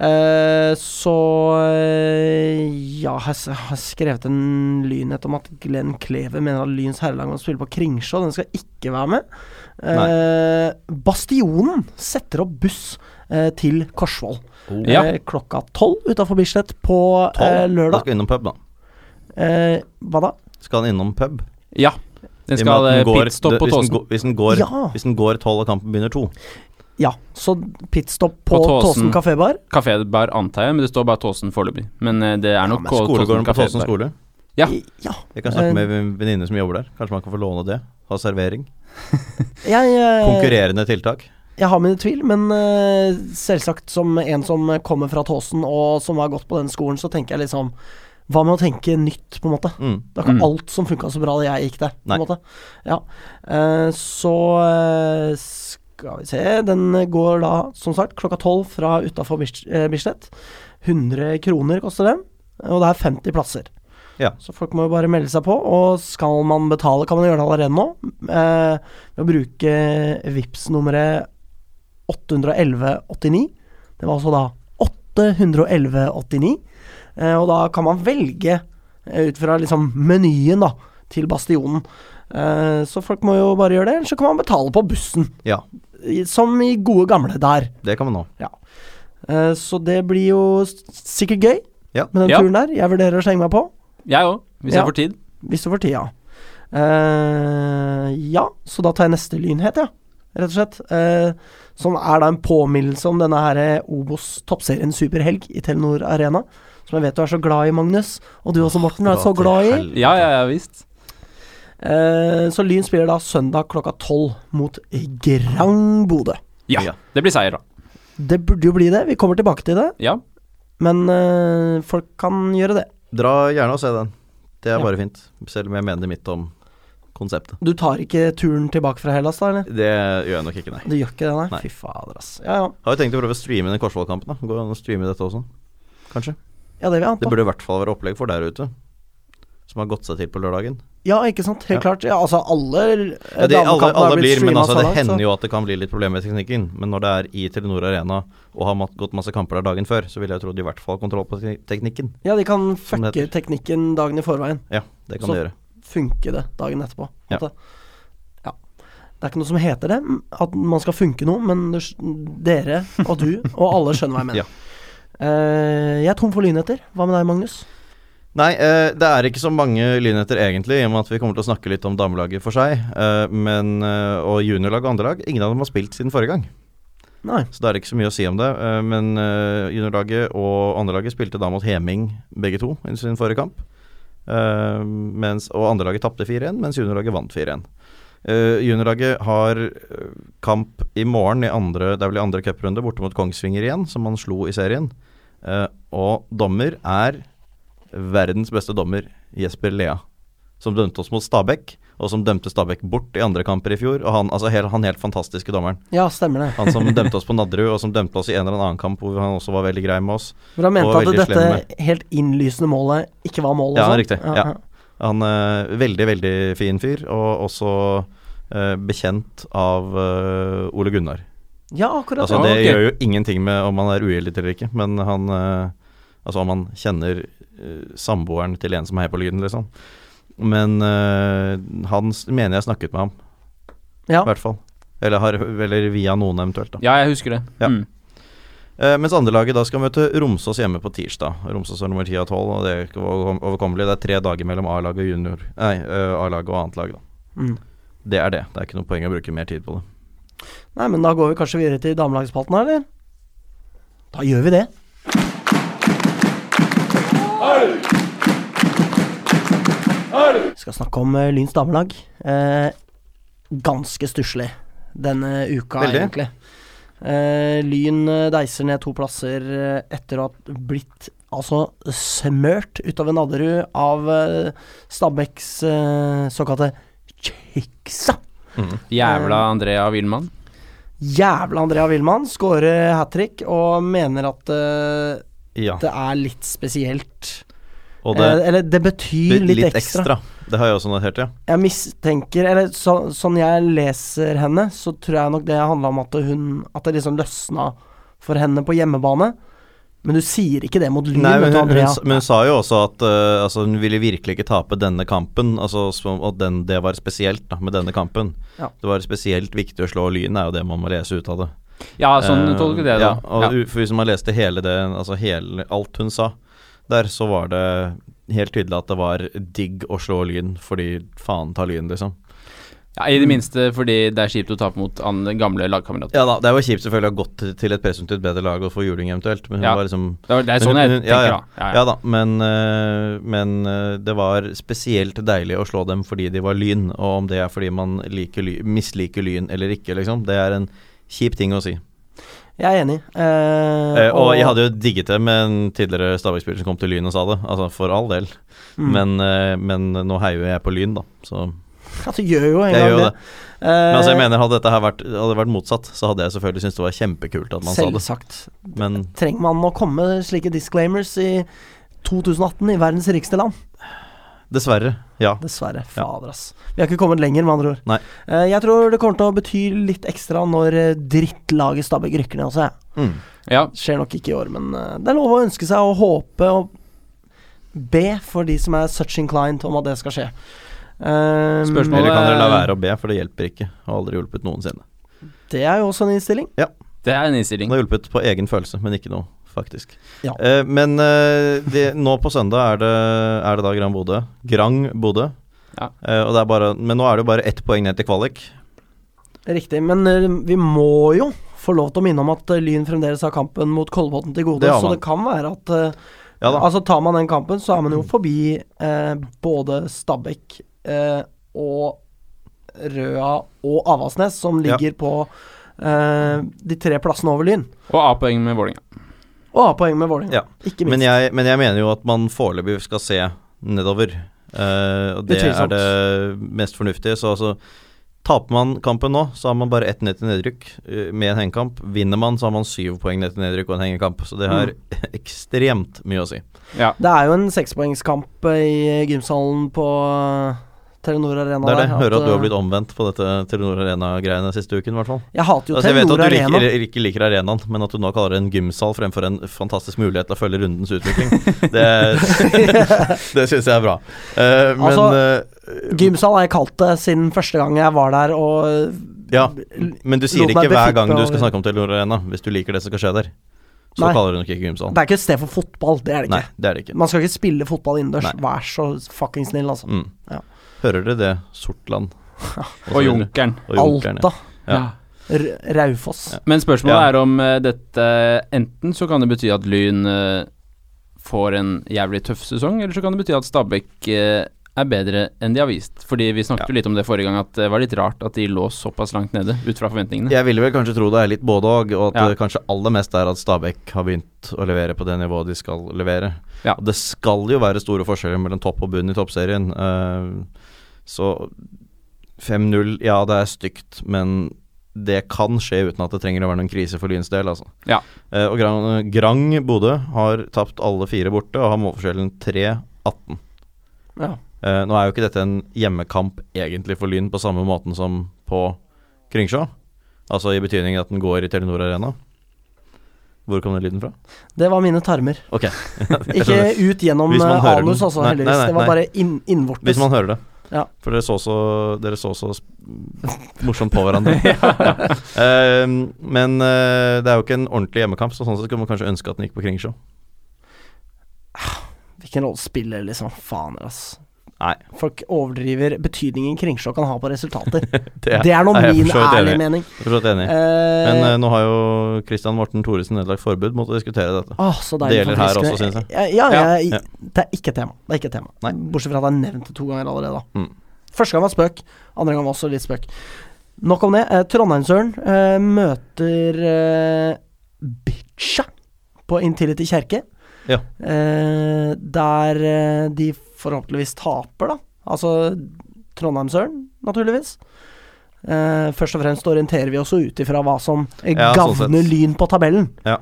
[SPEAKER 1] Eh, så eh, Ja, jeg s- jeg har skrevet en lynhet om at Glenn Kleve mener at Lyns herrelag må spille på Kringsjå. Den skal ikke være med. Eh, Bastionen setter opp buss eh, til Korsvoll.
[SPEAKER 2] Ja.
[SPEAKER 1] Eh, klokka tolv utafor Bislett på
[SPEAKER 3] Tolv?
[SPEAKER 1] eh,
[SPEAKER 3] Da
[SPEAKER 1] lørdag.
[SPEAKER 3] skal han innom pub, da.
[SPEAKER 1] Eh, hva da?
[SPEAKER 3] Skal han innom pub?
[SPEAKER 2] Ja. Den
[SPEAKER 3] I og med
[SPEAKER 2] skal
[SPEAKER 3] at
[SPEAKER 2] eh,
[SPEAKER 3] den går-
[SPEAKER 2] pitstop
[SPEAKER 3] det-
[SPEAKER 2] på
[SPEAKER 3] hvis den
[SPEAKER 2] Tåsen.
[SPEAKER 3] går- Hvis den går
[SPEAKER 1] Ja.
[SPEAKER 3] Hvis den går tolv og kampen begynner to.
[SPEAKER 1] Ja, så pitstop på,
[SPEAKER 2] På Tåsen.
[SPEAKER 1] Tåsen kafébar.
[SPEAKER 2] Kafébar antar jeg, men det står bare Tåsen foreløpig. Men eh, det er nok K-
[SPEAKER 3] Skolegården på
[SPEAKER 2] Kafé
[SPEAKER 3] Tåsen
[SPEAKER 2] Bar.
[SPEAKER 3] skole.
[SPEAKER 2] Ja.
[SPEAKER 1] I- ja.
[SPEAKER 3] Jeg kan snakke
[SPEAKER 1] Eh.
[SPEAKER 3] med en venninne som jobber der. Kanskje man kan få låne det? Ha servering?
[SPEAKER 1] Jeg, eh,
[SPEAKER 3] Konkurrerende tiltak?
[SPEAKER 1] jeg har mine tvil, men eh, selvsagt som en som kommer fra Tåsen og som har gått på den skolen, så tenker jeg liksom Hva med å tenke nytt, på en måte?
[SPEAKER 3] Mm.
[SPEAKER 1] Det var ikke
[SPEAKER 2] Mm.
[SPEAKER 1] alt som funka så bra da jeg gikk der. På
[SPEAKER 3] Nei.
[SPEAKER 1] en måte. Ja. Eh, så eh, skal vi se Den går da, som sagt, klokka tolv fra utafor Bislett. 100 kroner koster den, og det er 50 plasser.
[SPEAKER 3] Ja.
[SPEAKER 1] Så folk må jo bare melde seg på. Og skal man betale, kan man gjøre det allerede nå. eh, ved å bruke Vipps nummeret 81189. Det var altså da 81189. Eh, og da kan man velge eh, ut fra liksom menyen da, til Bastionen. Eh, så folk må jo bare gjøre det, eller så kan man betale på bussen.
[SPEAKER 3] Ja,
[SPEAKER 1] i- Som i gode gamle der.
[SPEAKER 3] det kan man nå.
[SPEAKER 1] Eh, så det blir jo s- sikkert gøy
[SPEAKER 3] Ja.
[SPEAKER 1] med den
[SPEAKER 2] Ja.
[SPEAKER 1] turen der. Jeg vurderer å slenge meg på,
[SPEAKER 2] Jeg òg, hvis
[SPEAKER 1] Ja.
[SPEAKER 2] jeg får tid.
[SPEAKER 1] hvis du får tida. Eh, ja, så da tar jeg neste lynhet, ja. Rett og slett. Eh, som er da en påminnelse om denne her eh, Obos toppserien Superhelg i Telenor Arena. Som jeg vet du er så glad i, Magnus. Og du også, Morten, er så glad i.
[SPEAKER 2] Ja, ja, ja visst.
[SPEAKER 1] Eh, Så Lyn spiller da søndag klokka tolv mot Grang Bodø.
[SPEAKER 2] Ja.
[SPEAKER 3] Ja.
[SPEAKER 2] Det blir seier, da.
[SPEAKER 1] Det burde jo bli det, vi kommer tilbake til det.
[SPEAKER 2] Ja.
[SPEAKER 1] Men eh, folk kan gjøre det.
[SPEAKER 3] Dra gjerne og se den. Det er
[SPEAKER 1] Ja.
[SPEAKER 3] bare fint. Selv om jeg mener mitt om konseptet.
[SPEAKER 1] Du tar ikke turen tilbake fra Hellas, da, eller?
[SPEAKER 3] Det gjør jeg nok ikke, nei.
[SPEAKER 1] Du gjør ikke det, nei?
[SPEAKER 3] Nei.
[SPEAKER 1] Fy fader, ass. Ja, ja.
[SPEAKER 3] Har jo tenkt å prøve å streame den Korsvoll-kampen, da. Går det an å streame dette også? Kanskje.
[SPEAKER 1] ja det vil jeg
[SPEAKER 3] Det
[SPEAKER 1] anta.
[SPEAKER 3] burde i hvert fall være opplegg for der ute. som har gått seg til på lørdagen.
[SPEAKER 1] Ja, ikke sant. Helt
[SPEAKER 3] Ja.
[SPEAKER 1] klart. Ja, altså alle
[SPEAKER 3] Ja, det, alle,
[SPEAKER 1] damekampene har
[SPEAKER 3] alle
[SPEAKER 1] blitt
[SPEAKER 3] blir, men
[SPEAKER 1] streamet
[SPEAKER 3] altså,
[SPEAKER 1] så
[SPEAKER 3] det
[SPEAKER 1] langt, så-
[SPEAKER 3] hender jo at det kan bli litt problemer med teknikken. Men når det er i Telenor Arena og har mat- gått masse kamper der dagen før, så ville jeg trodd i hvert fall kontroll på tekni- teknikken.
[SPEAKER 1] Ja, de kan
[SPEAKER 3] som det
[SPEAKER 1] fucke teknikken dagen i forveien.
[SPEAKER 3] Ja, det kan
[SPEAKER 1] Så-
[SPEAKER 3] det gjøre.
[SPEAKER 1] Funke det dagen etterpå. på en
[SPEAKER 3] Ja.
[SPEAKER 1] måte. ja. Det er ikke noe som heter det, m, at man skal funke noe, men du, skj- dere og du og alle skjønner hva jeg mener.
[SPEAKER 3] Ja.
[SPEAKER 1] Eh, jeg er tom for lynheter. Hva med deg, Magnus?
[SPEAKER 3] Nei, eh, det er ikke så mange lynheter egentlig, i og med at vi kommer til å snakke litt om damelaget for seg. eh, men, eh, og juniorlag og andrelag, ingen av dem har spilt siden forrige gang.
[SPEAKER 1] Nei.
[SPEAKER 3] Så det er ikke så mye å si om det. eh, men eh, juniorlaget og andrelaget spilte da mot Heming begge to i sin forrige kamp. Eh, mens, og andrelaget tapte 4-1, mens juniorlaget vant 4-1. Eh, juniorlaget har eh, kamp i morgen i andre, det er vel i andre cuprunde, borte mot Kongsvinger igjen, som man slo i serien. Eh, og dommer er verdens beste dommer, Jesper Lea, som dømte oss mot Stabæk, og som dømte Stabæk bort i andre kamper i fjor. Og han, altså, helt, han helt fantastiske dommeren.
[SPEAKER 1] Ja, stemmer det.
[SPEAKER 3] Han som dømte oss på Nadderud, og som dømte oss i en eller annen kamp hvor han også var veldig grei med oss.
[SPEAKER 1] Hvor han mente
[SPEAKER 3] Og
[SPEAKER 1] at
[SPEAKER 3] veldig
[SPEAKER 1] dette
[SPEAKER 3] slem
[SPEAKER 1] helt innlysende målet ikke var mål. og
[SPEAKER 3] Ja,
[SPEAKER 1] sånn.
[SPEAKER 3] riktig. Ja. Han er veldig, veldig fin fyr, og også eh, bekjent av eh, Ole Gunnar.
[SPEAKER 1] Ja, akkurat.
[SPEAKER 3] Altså,
[SPEAKER 1] ja.
[SPEAKER 3] det
[SPEAKER 2] ok.
[SPEAKER 3] gjør jo ingenting med om han er uheldig eller ikke, men han eh, Altså om han kjenner eh, samboeren til en som heier på Lyden, liksom. Men eh, han s- mener jeg snakket med ham,
[SPEAKER 1] Ja.
[SPEAKER 3] i hvert fall. Eller, har, eller via noen eventuelt, da.
[SPEAKER 2] Ja, jeg husker det.
[SPEAKER 3] Ja.
[SPEAKER 2] Mm.
[SPEAKER 3] Eh, mens andrelaget da skal møte Romsås hjemme på tirsdag. Romsås er nummer 10 av 12, og det er ikke overkom- overkommelig. Det er tre dager mellom A-laget og junior Nei, eh, A-laget og annet lag, da.
[SPEAKER 1] Mm.
[SPEAKER 3] Det er det. Det er ikke noe poeng å bruke mer tid på det.
[SPEAKER 1] Nei, men da går vi kanskje videre til damelagsspalten her, eller? Da gjør vi det. Vi skal snakke om eh, Lyns damelag. Eh, ganske stusslig denne uka,
[SPEAKER 3] Veldig.
[SPEAKER 1] egentlig. Eh, lyn eh, deiser ned to plasser eh, etter å ha blitt altså smørt utover Nadderud av eh, Stabæks eh, såkalte Chiksa.
[SPEAKER 2] Jævla Andrea Wilman.
[SPEAKER 1] Jævla Andrea Wilman skårer hat trick og mener at eh,
[SPEAKER 3] Ja,
[SPEAKER 1] det er litt spesielt.
[SPEAKER 3] og det
[SPEAKER 1] eh, eller det betyr
[SPEAKER 3] blir
[SPEAKER 1] litt, ekstra.
[SPEAKER 3] Det har jeg også notert, ja.
[SPEAKER 1] Jeg mistenker Eller så, sånn jeg leser henne, så tror jeg nok det handla om at hun At det liksom løsna for henne på hjemmebane. Men du sier ikke det mot Lyn,
[SPEAKER 3] Nei, men
[SPEAKER 1] vet du,
[SPEAKER 3] hun, hun,
[SPEAKER 1] Andrea.
[SPEAKER 3] s- men hun sa jo også at eh, altså, hun ville virkelig ikke tape denne kampen. Altså, som- og den, det var spesielt da, med denne kampen.
[SPEAKER 1] Ja.
[SPEAKER 3] Det var spesielt viktig å slå Lyn, er jo det man må lese ut av det.
[SPEAKER 2] Ja, sånn
[SPEAKER 3] Eh,
[SPEAKER 2] tolker jeg det,
[SPEAKER 3] Ja,
[SPEAKER 2] da.
[SPEAKER 3] og
[SPEAKER 2] Ja.
[SPEAKER 3] u- For Hvis man leste hele det, altså hele, alt hun sa der, så var det helt tydelig at det var digg å slå Lyn, fordi faen ta Lyn, liksom.
[SPEAKER 2] Ja, I det minste fordi det er kjipt å tape mot an- gamle lagkamerater.
[SPEAKER 3] Ja da, det er jo kjipt selvfølgelig å ha gått til- til et presumptivt bedre lag og få juling eventuelt, men hun
[SPEAKER 2] Ja.
[SPEAKER 3] var liksom
[SPEAKER 2] Det er- det er sånn jeg
[SPEAKER 3] Men-
[SPEAKER 2] tenker,
[SPEAKER 3] ja,
[SPEAKER 2] da. Ja, ja.
[SPEAKER 3] Ja da, men, øh, men øh, det var spesielt deilig å slå dem fordi de var Lyn, og om det er fordi man liker ly, misliker Lyn eller ikke, liksom, det er en kjip ting å si.
[SPEAKER 1] Jeg er enig. Eh,
[SPEAKER 3] Eh, og jeg hadde jo digget det med en tidligere Stabæk-spiller som kom til Lyn og sa det, altså for all del.
[SPEAKER 1] mm.
[SPEAKER 3] Men, eh, men nå heier jo jeg på Lyn, da. Så
[SPEAKER 1] Ja, du gjør jo en
[SPEAKER 3] jeg
[SPEAKER 1] gang
[SPEAKER 3] gjør jo
[SPEAKER 1] det. Eh.
[SPEAKER 3] det. Men altså, jeg mener, hadde dette her vært, hadde det vært motsatt, så hadde jeg selvfølgelig syntes det var kjempekult at man sa
[SPEAKER 1] Eh, Selvsagt.
[SPEAKER 3] det. Men
[SPEAKER 1] Trenger man å komme med slike disclaimers i 2018 i verdens rikeste land?
[SPEAKER 3] dessverre, ja.
[SPEAKER 1] Dessverre.
[SPEAKER 3] Ja.
[SPEAKER 1] Fader, ass. Vi har ikke kommet lenger, med andre ord.
[SPEAKER 3] Nei.
[SPEAKER 1] Eh, jeg tror det kommer til å bety litt ekstra når eh, drittlaget Stabæk rykker ned også. jeg.
[SPEAKER 3] Mm.
[SPEAKER 2] ja.
[SPEAKER 1] Skjer nok ikke i år, men eh, det er lov å ønske seg og håpe og be for de som er such inclined om at det skal skje. Eh,
[SPEAKER 2] Spørsmål?
[SPEAKER 3] Eller kan dere la være å be, for det hjelper ikke. Har aldri hjulpet noensinne.
[SPEAKER 1] Det er jo også en innstilling.
[SPEAKER 2] Det er en innstilling.
[SPEAKER 3] Den har hjulpet på egen følelse, men ikke noe, faktisk.
[SPEAKER 1] Ja.
[SPEAKER 3] Eh, men eh, det, nå på søndag er det, er det da Grand Bodø. Grang Bodø.
[SPEAKER 2] Ja.
[SPEAKER 3] Eh, og det er bare, men nå er det jo bare ett poeng ned til kvalik.
[SPEAKER 1] Riktig. Men eh, vi må jo få lov til å minne om at eh, Lyn fremdeles har kampen mot Kolbotn til gode,
[SPEAKER 3] Det har
[SPEAKER 1] så
[SPEAKER 3] man.
[SPEAKER 1] det kan være at eh,
[SPEAKER 3] Ja da.
[SPEAKER 1] Altså Tar man den kampen, så er man jo forbi eh, både Stabæk eh, og Røa og Avaldsnes, som
[SPEAKER 3] Ja.
[SPEAKER 1] ligger på eh, de tre plassene over Lyn.
[SPEAKER 2] Og A-poeng med Vålerenga.
[SPEAKER 1] Og har poeng med Vålerenga,
[SPEAKER 3] Ja.
[SPEAKER 1] ikke minst.
[SPEAKER 3] Men jeg, men jeg mener jo at man foreløpig skal se nedover. Eh, og det er
[SPEAKER 1] Utvilsomt.
[SPEAKER 3] det mest fornuftige. Så altså Taper man kampen nå, så har man bare ett ned til nedrykk eh, med en hengekamp. Vinner man, så har man syv poeng ned til nedrykk og en hengekamp. Så det har
[SPEAKER 1] Mm.
[SPEAKER 3] ekstremt mye å si.
[SPEAKER 2] Ja.
[SPEAKER 1] Det er jo en sekspoengskamp eh, i Grimshallen på eh, Telenor Arena.
[SPEAKER 3] Det er det.
[SPEAKER 1] der,
[SPEAKER 3] Hører at du har
[SPEAKER 1] eh,
[SPEAKER 3] blitt omvendt på dette Telenor Arena-greiene siste uken, i hvert fall.
[SPEAKER 1] Jeg hater jo
[SPEAKER 3] Altså, jeg vet at
[SPEAKER 1] Telenor
[SPEAKER 3] du
[SPEAKER 1] Arena.
[SPEAKER 3] liker, ikke liker arenaen, men at du nå kaller det en gymsal fremfor en fantastisk mulighet til å følge rundens utvikling, det, det syns jeg er bra. Eh, men
[SPEAKER 1] Altså,
[SPEAKER 3] eh,
[SPEAKER 1] Gymsal har jeg kalt det siden første gang jeg var der, og
[SPEAKER 3] Ja, men du sier
[SPEAKER 1] lot
[SPEAKER 3] ikke
[SPEAKER 1] meg
[SPEAKER 3] hver gang
[SPEAKER 1] befippe
[SPEAKER 3] du skal
[SPEAKER 1] over-
[SPEAKER 3] snakke om Telenor Arena, hvis du liker det som skal skje der. Så
[SPEAKER 1] Nei.
[SPEAKER 3] kaller du det nok ikke gymsal.
[SPEAKER 1] det er ikke et sted for fotball. Det er det
[SPEAKER 3] Nei,
[SPEAKER 1] ikke.
[SPEAKER 3] det er det ikke.
[SPEAKER 1] Man skal ikke spille fotball innendørs.
[SPEAKER 3] Nei.
[SPEAKER 1] Vær så fucking snill, altså.
[SPEAKER 3] Mm.
[SPEAKER 1] Ja.
[SPEAKER 3] Hører dere det, Sortland?
[SPEAKER 2] Og Junkeren.
[SPEAKER 3] Og Junkerne.
[SPEAKER 1] Alta.
[SPEAKER 3] Ja.
[SPEAKER 1] R Raufoss.
[SPEAKER 3] Ja.
[SPEAKER 2] Men spørsmålet
[SPEAKER 3] Ja.
[SPEAKER 2] er om eh, dette Enten så kan det bety at Lyn eh, får en jævlig tøff sesong, eller så kan det bety at Stabæk eh, er bedre enn de har vist. Fordi vi snakket jo litt om det forrige gang, at det var litt rart at de lå såpass langt nede, ut fra forventningene.
[SPEAKER 3] Jeg ville vel kanskje tro det er litt både og, og at
[SPEAKER 2] Ja.
[SPEAKER 3] det kanskje aller mest er at Stabæk har begynt å levere på det nivået de skal levere.
[SPEAKER 2] Ja.
[SPEAKER 3] Og det skal jo være store forskjeller mellom topp og bunn i toppserien. eh, så 5-0, ja det er stygt, men det kan skje uten at det trenger å være noen krise for Lyns del, altså.
[SPEAKER 2] Ja.
[SPEAKER 3] Eh, og Grang, Grang Bodø har tapt alle fire borte og har målforskjellen 3-18.
[SPEAKER 1] Ja.
[SPEAKER 3] Eh, nå er jo ikke dette en hjemmekamp egentlig for Lyn på samme måten som på Kringsjå. Altså i betydning at den går i Telenor Arena. Hvor kom den lyden fra?
[SPEAKER 1] Det var mine tarmer.
[SPEAKER 3] Ok.
[SPEAKER 1] Ikke ut gjennom
[SPEAKER 3] Hvis man
[SPEAKER 1] eh,
[SPEAKER 3] hører
[SPEAKER 1] anus,
[SPEAKER 3] den.
[SPEAKER 1] altså,
[SPEAKER 3] Nei,
[SPEAKER 1] heldigvis.
[SPEAKER 3] nei, nei,
[SPEAKER 1] det var
[SPEAKER 3] nei.
[SPEAKER 1] bare inn innvortes.
[SPEAKER 3] Hvis man hører det.
[SPEAKER 1] Ja.
[SPEAKER 3] For dere så så, dere så, så sp- morsomt på hverandre. ja. Eh, men eh, det er jo ikke en ordentlig hjemmekamp, så sånn sett kunne man kanskje ønske at den gikk på Kringsjå.
[SPEAKER 1] Hvilken rolle spiller liksom Faen, ass.
[SPEAKER 3] Nei.
[SPEAKER 1] Folk overdriver betydningen Kringsjå kan ha på resultater.
[SPEAKER 3] Det
[SPEAKER 1] det er nå
[SPEAKER 3] er jeg
[SPEAKER 1] min
[SPEAKER 3] for så vidt
[SPEAKER 1] ærlige
[SPEAKER 3] enig i.
[SPEAKER 1] mening.
[SPEAKER 3] Jeg er forstått enig. i.
[SPEAKER 1] Eh,
[SPEAKER 3] Men eh, nå har jo Christian Morten Thoresen nedlagt forbud mot å diskutere dette.
[SPEAKER 1] Åh, så
[SPEAKER 3] Det
[SPEAKER 1] deilig
[SPEAKER 3] gjelder her også, synes jeg.
[SPEAKER 1] Ja, ja,
[SPEAKER 2] Ja.
[SPEAKER 1] jeg- Det er ikke et tema. Det er ikke et tema.
[SPEAKER 3] Nei.
[SPEAKER 1] Bortsett fra at jeg har nevnt det to ganger allerede. da.
[SPEAKER 3] Mm.
[SPEAKER 1] Første gang var spøk, andre gang var også litt spøk. Nok om det. Eh, Trondheimsøren eh, møter eh, Bitcha på Intility kjerke.
[SPEAKER 3] Ja.
[SPEAKER 1] Eh, der eh, de forhåpentligvis taper, da. Altså Trondheimsøren, naturligvis. Eh, først og fremst orienterer vi oss jo ut ifra hva som eh,
[SPEAKER 3] Ja, sånn sett.
[SPEAKER 1] gagner Lyn på tabellen.
[SPEAKER 3] Ja.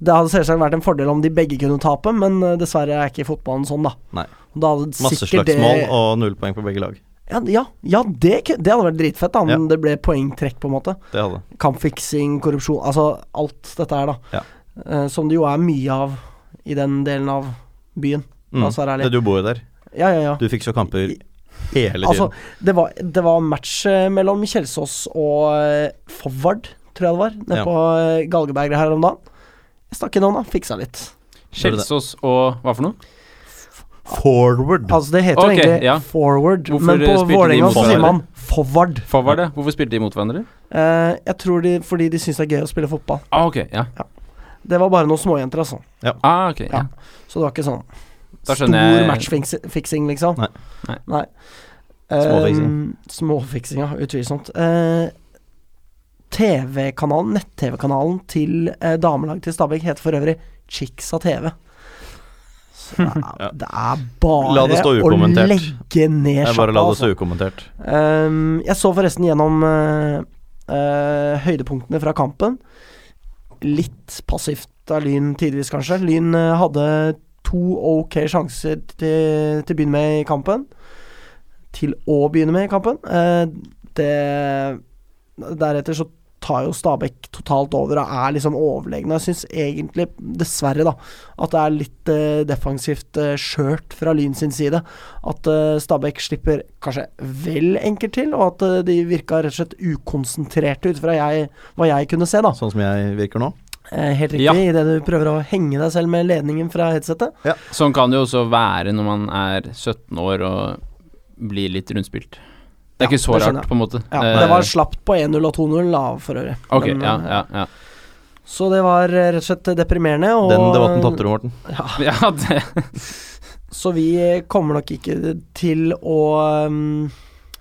[SPEAKER 1] Det hadde selvsagt vært en fordel om de begge kunne tape, men eh, dessverre er ikke fotballen sånn, da.
[SPEAKER 3] Nei.
[SPEAKER 1] Og Da hadde
[SPEAKER 3] Masse
[SPEAKER 1] sikkert
[SPEAKER 3] slagsmål
[SPEAKER 1] det-
[SPEAKER 3] og null poeng på begge lag.
[SPEAKER 1] Ja, ja, ja det, ku- det hadde vært dritfett, da, om
[SPEAKER 3] Ja.
[SPEAKER 1] det ble poengtrekk, på en måte.
[SPEAKER 3] Det hadde
[SPEAKER 1] Kampfiksing, korrupsjon, altså alt dette her, da.
[SPEAKER 3] Ja.
[SPEAKER 1] Eh, som det jo er mye av i den delen av byen.
[SPEAKER 3] Mm.
[SPEAKER 1] Altså, er det litt-
[SPEAKER 3] Du bor jo der.
[SPEAKER 1] Ja, ja, ja.
[SPEAKER 3] Du fikk så kamper hele tiden.
[SPEAKER 1] Altså, det var, det var match eh, mellom Kjelsås og eh, Fovard, tror jeg det var, nede
[SPEAKER 3] Ja.
[SPEAKER 1] på eh, Galgeberget her om dagen. Jeg stakk innom, da. Fiksa litt.
[SPEAKER 2] Kjelsås og hva for noe?
[SPEAKER 3] Forward.
[SPEAKER 1] Altså, det heter
[SPEAKER 2] Ok,
[SPEAKER 1] egentlig
[SPEAKER 2] ja.
[SPEAKER 1] forward,
[SPEAKER 2] Hvorfor,
[SPEAKER 1] men
[SPEAKER 2] eh,
[SPEAKER 1] på
[SPEAKER 2] spilte de
[SPEAKER 1] Vålerenga
[SPEAKER 2] mot
[SPEAKER 1] så sier
[SPEAKER 3] hverandre?
[SPEAKER 1] man forward.
[SPEAKER 2] Forward, ja. Hvorfor spilte de mot hverandre?
[SPEAKER 1] Eh, jeg tror de fordi de syns det er gøy å spille fotball.
[SPEAKER 2] Ah, ok, ja.
[SPEAKER 1] Det var bare noen småjenter, altså.
[SPEAKER 2] Ah, ok, ja.
[SPEAKER 1] Ja. Så det var ikke sånn
[SPEAKER 2] Da
[SPEAKER 1] stor
[SPEAKER 2] skjønner jeg-
[SPEAKER 1] matchfiksing, liksom.
[SPEAKER 3] Nei.
[SPEAKER 2] Nei.
[SPEAKER 1] Nei.
[SPEAKER 3] Småfiksing.
[SPEAKER 1] Um, småfiksing, ja. Utvilsomt. Eh, TV-kanalen, nett-TV-kanalen til eh, damelaget til Stabæk heter for øvrig Chicksa TV. Så det er,
[SPEAKER 3] Ja.
[SPEAKER 1] det er bare
[SPEAKER 3] La det stå
[SPEAKER 1] å
[SPEAKER 3] ukommentert.
[SPEAKER 1] legge ned
[SPEAKER 3] Jeg bare
[SPEAKER 1] sjappa,
[SPEAKER 3] la det
[SPEAKER 1] altså.
[SPEAKER 3] stå ukommentert.
[SPEAKER 1] Ehm, jeg så forresten gjennom eh, eh, høydepunktene fra kampen. Litt passivt av Lyn tidvis, kanskje. Lyn eh, hadde to ok sjanser til, til å begynne med i kampen. Til å begynne med i kampen. Eh, det Deretter så tar jo Stabæk totalt over og er liksom overlegne. Jeg syns egentlig, dessverre, da, at det er litt eh, defensivt eh, skjørt fra Lyn sin side. At eh, Stabæk slipper kanskje vel enkelt til, og at eh, de virka rett og slett ukonsentrerte ut fra jeg, hva jeg kunne se, da.
[SPEAKER 3] Sånn som jeg virker nå.
[SPEAKER 1] Eh, helt riktig,
[SPEAKER 2] Ja.
[SPEAKER 1] i idet du prøver å henge deg selv med ledningen fra headsetet.
[SPEAKER 2] Sånn kan det jo også være når man er 17 år og blir litt rundspilt. Det er
[SPEAKER 1] Ja,
[SPEAKER 2] ikke så
[SPEAKER 1] det skjønner
[SPEAKER 2] rart, på en måte.
[SPEAKER 1] Ja,
[SPEAKER 2] Eh,
[SPEAKER 1] Det var slapt på 1-0 og 2-0 da, for øvrig.
[SPEAKER 2] Ok,
[SPEAKER 1] Men,
[SPEAKER 2] ja,
[SPEAKER 1] eh,
[SPEAKER 2] ja, ja.
[SPEAKER 1] Så det var eh, rett og slett deprimerende. Og
[SPEAKER 3] Den debatten tapte du, Morten.
[SPEAKER 1] Ja,
[SPEAKER 2] ja det,
[SPEAKER 1] Så vi kommer nok ikke til å um,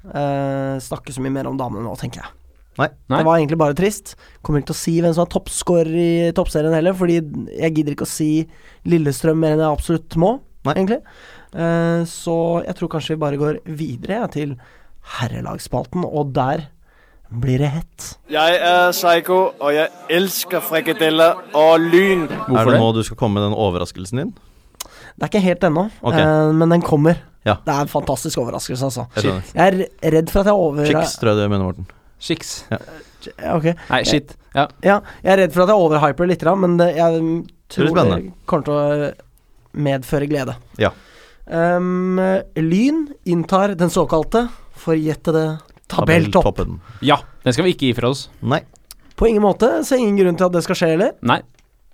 [SPEAKER 1] eh, snakke så mye mer om damene nå, tenker jeg.
[SPEAKER 3] Nei.
[SPEAKER 2] Nei.
[SPEAKER 1] Det var egentlig bare trist. Kommer ikke til å si hvem som er toppscorer i toppserien heller, fordi jeg gidder ikke å si Lillestrøm mer enn jeg absolutt må,
[SPEAKER 3] Nei.
[SPEAKER 1] egentlig. Eh, så jeg tror kanskje vi bare går videre ja, til herrelagsspalten, og der blir det hett.
[SPEAKER 4] Jeg er Psycho, og jeg elsker frikadeller og lyn.
[SPEAKER 3] Er
[SPEAKER 2] Hvorfor
[SPEAKER 3] det
[SPEAKER 2] det?
[SPEAKER 3] nå du skal komme med den overraskelsen din?
[SPEAKER 1] Det er ikke helt ennå,
[SPEAKER 3] Ok.
[SPEAKER 1] eh, men den kommer.
[SPEAKER 3] Ja.
[SPEAKER 1] Det er en fantastisk overraskelse, altså.
[SPEAKER 3] Jeg skjønner.
[SPEAKER 1] Jeg er redd for at jeg overhører
[SPEAKER 3] Chicks, tror jeg du mener, Morten.
[SPEAKER 2] Chicks.
[SPEAKER 1] Ok.
[SPEAKER 2] Nei, shit. Ja.
[SPEAKER 1] Ja, jeg er redd for at jeg overhyper litt, grann, men det, jeg mm,
[SPEAKER 3] blir
[SPEAKER 1] tror det,
[SPEAKER 3] spennende.
[SPEAKER 1] kommer til å medføre glede.
[SPEAKER 3] Ja.
[SPEAKER 1] Ehm, lyn inntar den såkalte, forjettede tabelltopp.
[SPEAKER 3] Tabelltoppen.
[SPEAKER 2] ja. Den skal vi ikke gi fra oss.
[SPEAKER 3] Nei.
[SPEAKER 1] På ingen måte, så ingen grunn til at det skal skje heller.
[SPEAKER 2] Nei.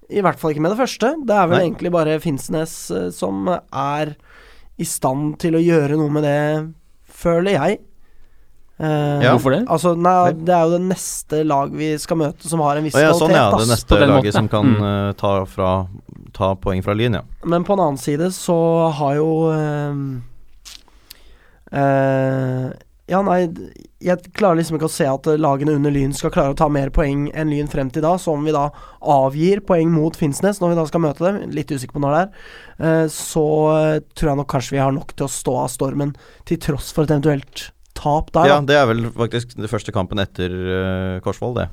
[SPEAKER 1] I hvert fall ikke med det første. Det er vel
[SPEAKER 3] Nei.
[SPEAKER 1] egentlig bare Finnsnes eh, som er i stand til å gjøre noe med det, føler jeg. Eh,
[SPEAKER 3] Ja.
[SPEAKER 2] Hvorfor det?
[SPEAKER 1] Altså, nei,
[SPEAKER 3] Nei.
[SPEAKER 1] det er jo det neste lag vi skal møte, som har en viss
[SPEAKER 3] Å, ja, sånn,
[SPEAKER 1] kvalitet.
[SPEAKER 3] ja. Det
[SPEAKER 1] ass.
[SPEAKER 3] neste
[SPEAKER 2] På den måten,
[SPEAKER 3] laget som
[SPEAKER 2] ja.
[SPEAKER 3] kan
[SPEAKER 2] Mm.
[SPEAKER 3] eh, ta, fra, ta poeng fra Lyn, ja.
[SPEAKER 1] Men på en annen side så har jo ehm, eh, Ja, nei, d- jeg klarer liksom ikke å se at eh, lagene under Lyn skal klare å ta mer poeng enn Lyn frem til da, så om vi da avgir poeng mot Finnsnes når vi da skal møte dem, litt usikker på når det er, eh, så eh, tror jeg nok kanskje vi har nok til å stå av stormen, til tross for et eventuelt tap der.
[SPEAKER 3] Ja,
[SPEAKER 1] da.
[SPEAKER 3] det er vel faktisk den første kampen etter eh, Korsvoll, det.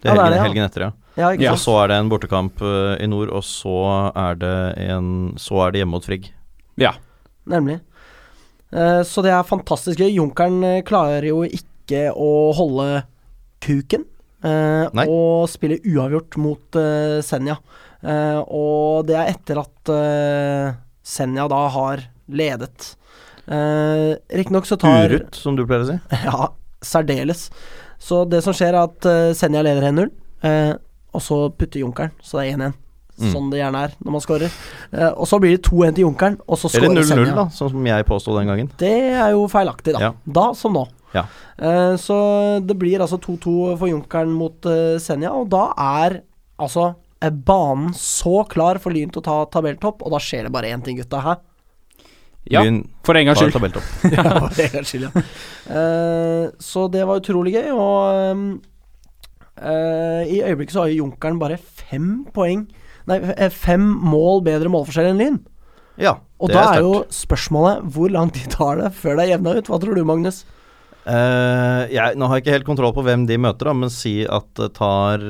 [SPEAKER 3] Det
[SPEAKER 1] Ja,
[SPEAKER 3] er
[SPEAKER 1] det er det,
[SPEAKER 3] helgen,
[SPEAKER 1] ja.
[SPEAKER 3] helgen etter, ja.
[SPEAKER 1] Ja, ikke
[SPEAKER 2] Ja.
[SPEAKER 3] Og
[SPEAKER 1] sant?
[SPEAKER 3] så er det en bortekamp eh, i nord, og så er det, en, så er det hjemme mot Frigg.
[SPEAKER 2] Ja.
[SPEAKER 1] Nemlig. Eh, så det er fantastisk gøy. Junkeren eh, klarer jo ikke å holde kuken. eh,
[SPEAKER 3] Nei.
[SPEAKER 1] og spiller uavgjort mot eh, Senja. Eh, og det er etter at eh, Senja da har ledet. Uh, Riktignok så tar
[SPEAKER 3] Urut, som du pleier å si.
[SPEAKER 1] Ja, særdeles. Så det som skjer, er at eh, Senja leder 1-0, eh, og så putter Junkeren, så det er 1-1.
[SPEAKER 3] Mm.
[SPEAKER 1] Sånn det gjerne er når man scorer. Eh, og så blir det 2-1 til Junkeren, og så
[SPEAKER 3] Eller
[SPEAKER 1] scorer
[SPEAKER 3] 0-0,
[SPEAKER 1] Senja.
[SPEAKER 3] da, sånn som jeg påsto den gangen.
[SPEAKER 1] Det er jo feilaktig, da.
[SPEAKER 3] Ja.
[SPEAKER 1] Da som nå.
[SPEAKER 3] Ja.
[SPEAKER 1] Eh, så det blir altså 2-2 for Junkeren mot eh, Senja, og da er altså eh, banen så klar for Lyn til å ta tabelltopp, og da skjer det bare én ting, gutta. Hæ?
[SPEAKER 2] ja.
[SPEAKER 3] Lyn
[SPEAKER 2] For en gangs
[SPEAKER 3] tar
[SPEAKER 2] skyld.
[SPEAKER 3] tabelltopp.
[SPEAKER 1] Ja, det er skyld, ja. Eh, så det var utrolig gøy, og ehm, eh, i øyeblikket så har jo Junkeren bare fem poeng Nei, eh, fem mål bedre målforskjell enn Lyn.
[SPEAKER 3] Ja,
[SPEAKER 1] Og
[SPEAKER 3] det
[SPEAKER 1] da er,
[SPEAKER 3] er sterkt.
[SPEAKER 1] jo spørsmålet hvor lang tid tar det før det er jevna ut? Hva tror du, Magnus?
[SPEAKER 3] Eh, jeg, nå har jeg ikke helt kontroll på hvem de møter, da, men si at det tar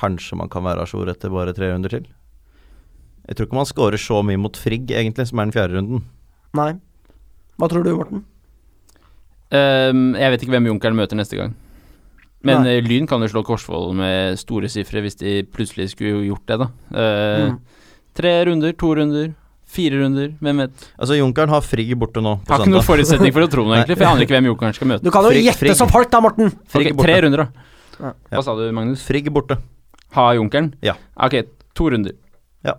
[SPEAKER 3] Kanskje man kan være à jour etter bare tre runder til. Jeg tror ikke man scorer så mye mot Frigg, egentlig, som er den fjerde runden.
[SPEAKER 1] Nei. Hva tror du, Morten?
[SPEAKER 2] Ehm, jeg vet ikke hvem Junkeren møter neste gang. Men
[SPEAKER 1] Nei.
[SPEAKER 2] eh, Lyn kan jo slå Korsvoll med store sifre hvis de plutselig skulle gjort det, da. Eh,
[SPEAKER 1] Mm.
[SPEAKER 2] Tre runder, to runder, fire runder, hvem vet.
[SPEAKER 3] Altså, Junkeren har Frigg borte nå
[SPEAKER 2] Jeg
[SPEAKER 3] på
[SPEAKER 2] har ikke noen
[SPEAKER 3] søndag.
[SPEAKER 2] forutsetning for å tro noe, egentlig, for jeg aner ikke hvem Junkeren skal møte.
[SPEAKER 1] Du kan jo
[SPEAKER 3] Frigg-
[SPEAKER 1] gjette
[SPEAKER 3] Frigg.
[SPEAKER 1] som folk, da, Morten!
[SPEAKER 3] Frigg
[SPEAKER 2] Ok,
[SPEAKER 3] borte.
[SPEAKER 2] tre runder,
[SPEAKER 1] Ja.
[SPEAKER 2] da. Hva sa du, Magnus?
[SPEAKER 3] Frigg borte.
[SPEAKER 2] Ha Junkeren?
[SPEAKER 3] Ja.
[SPEAKER 2] Ok, to runder.
[SPEAKER 1] Jeg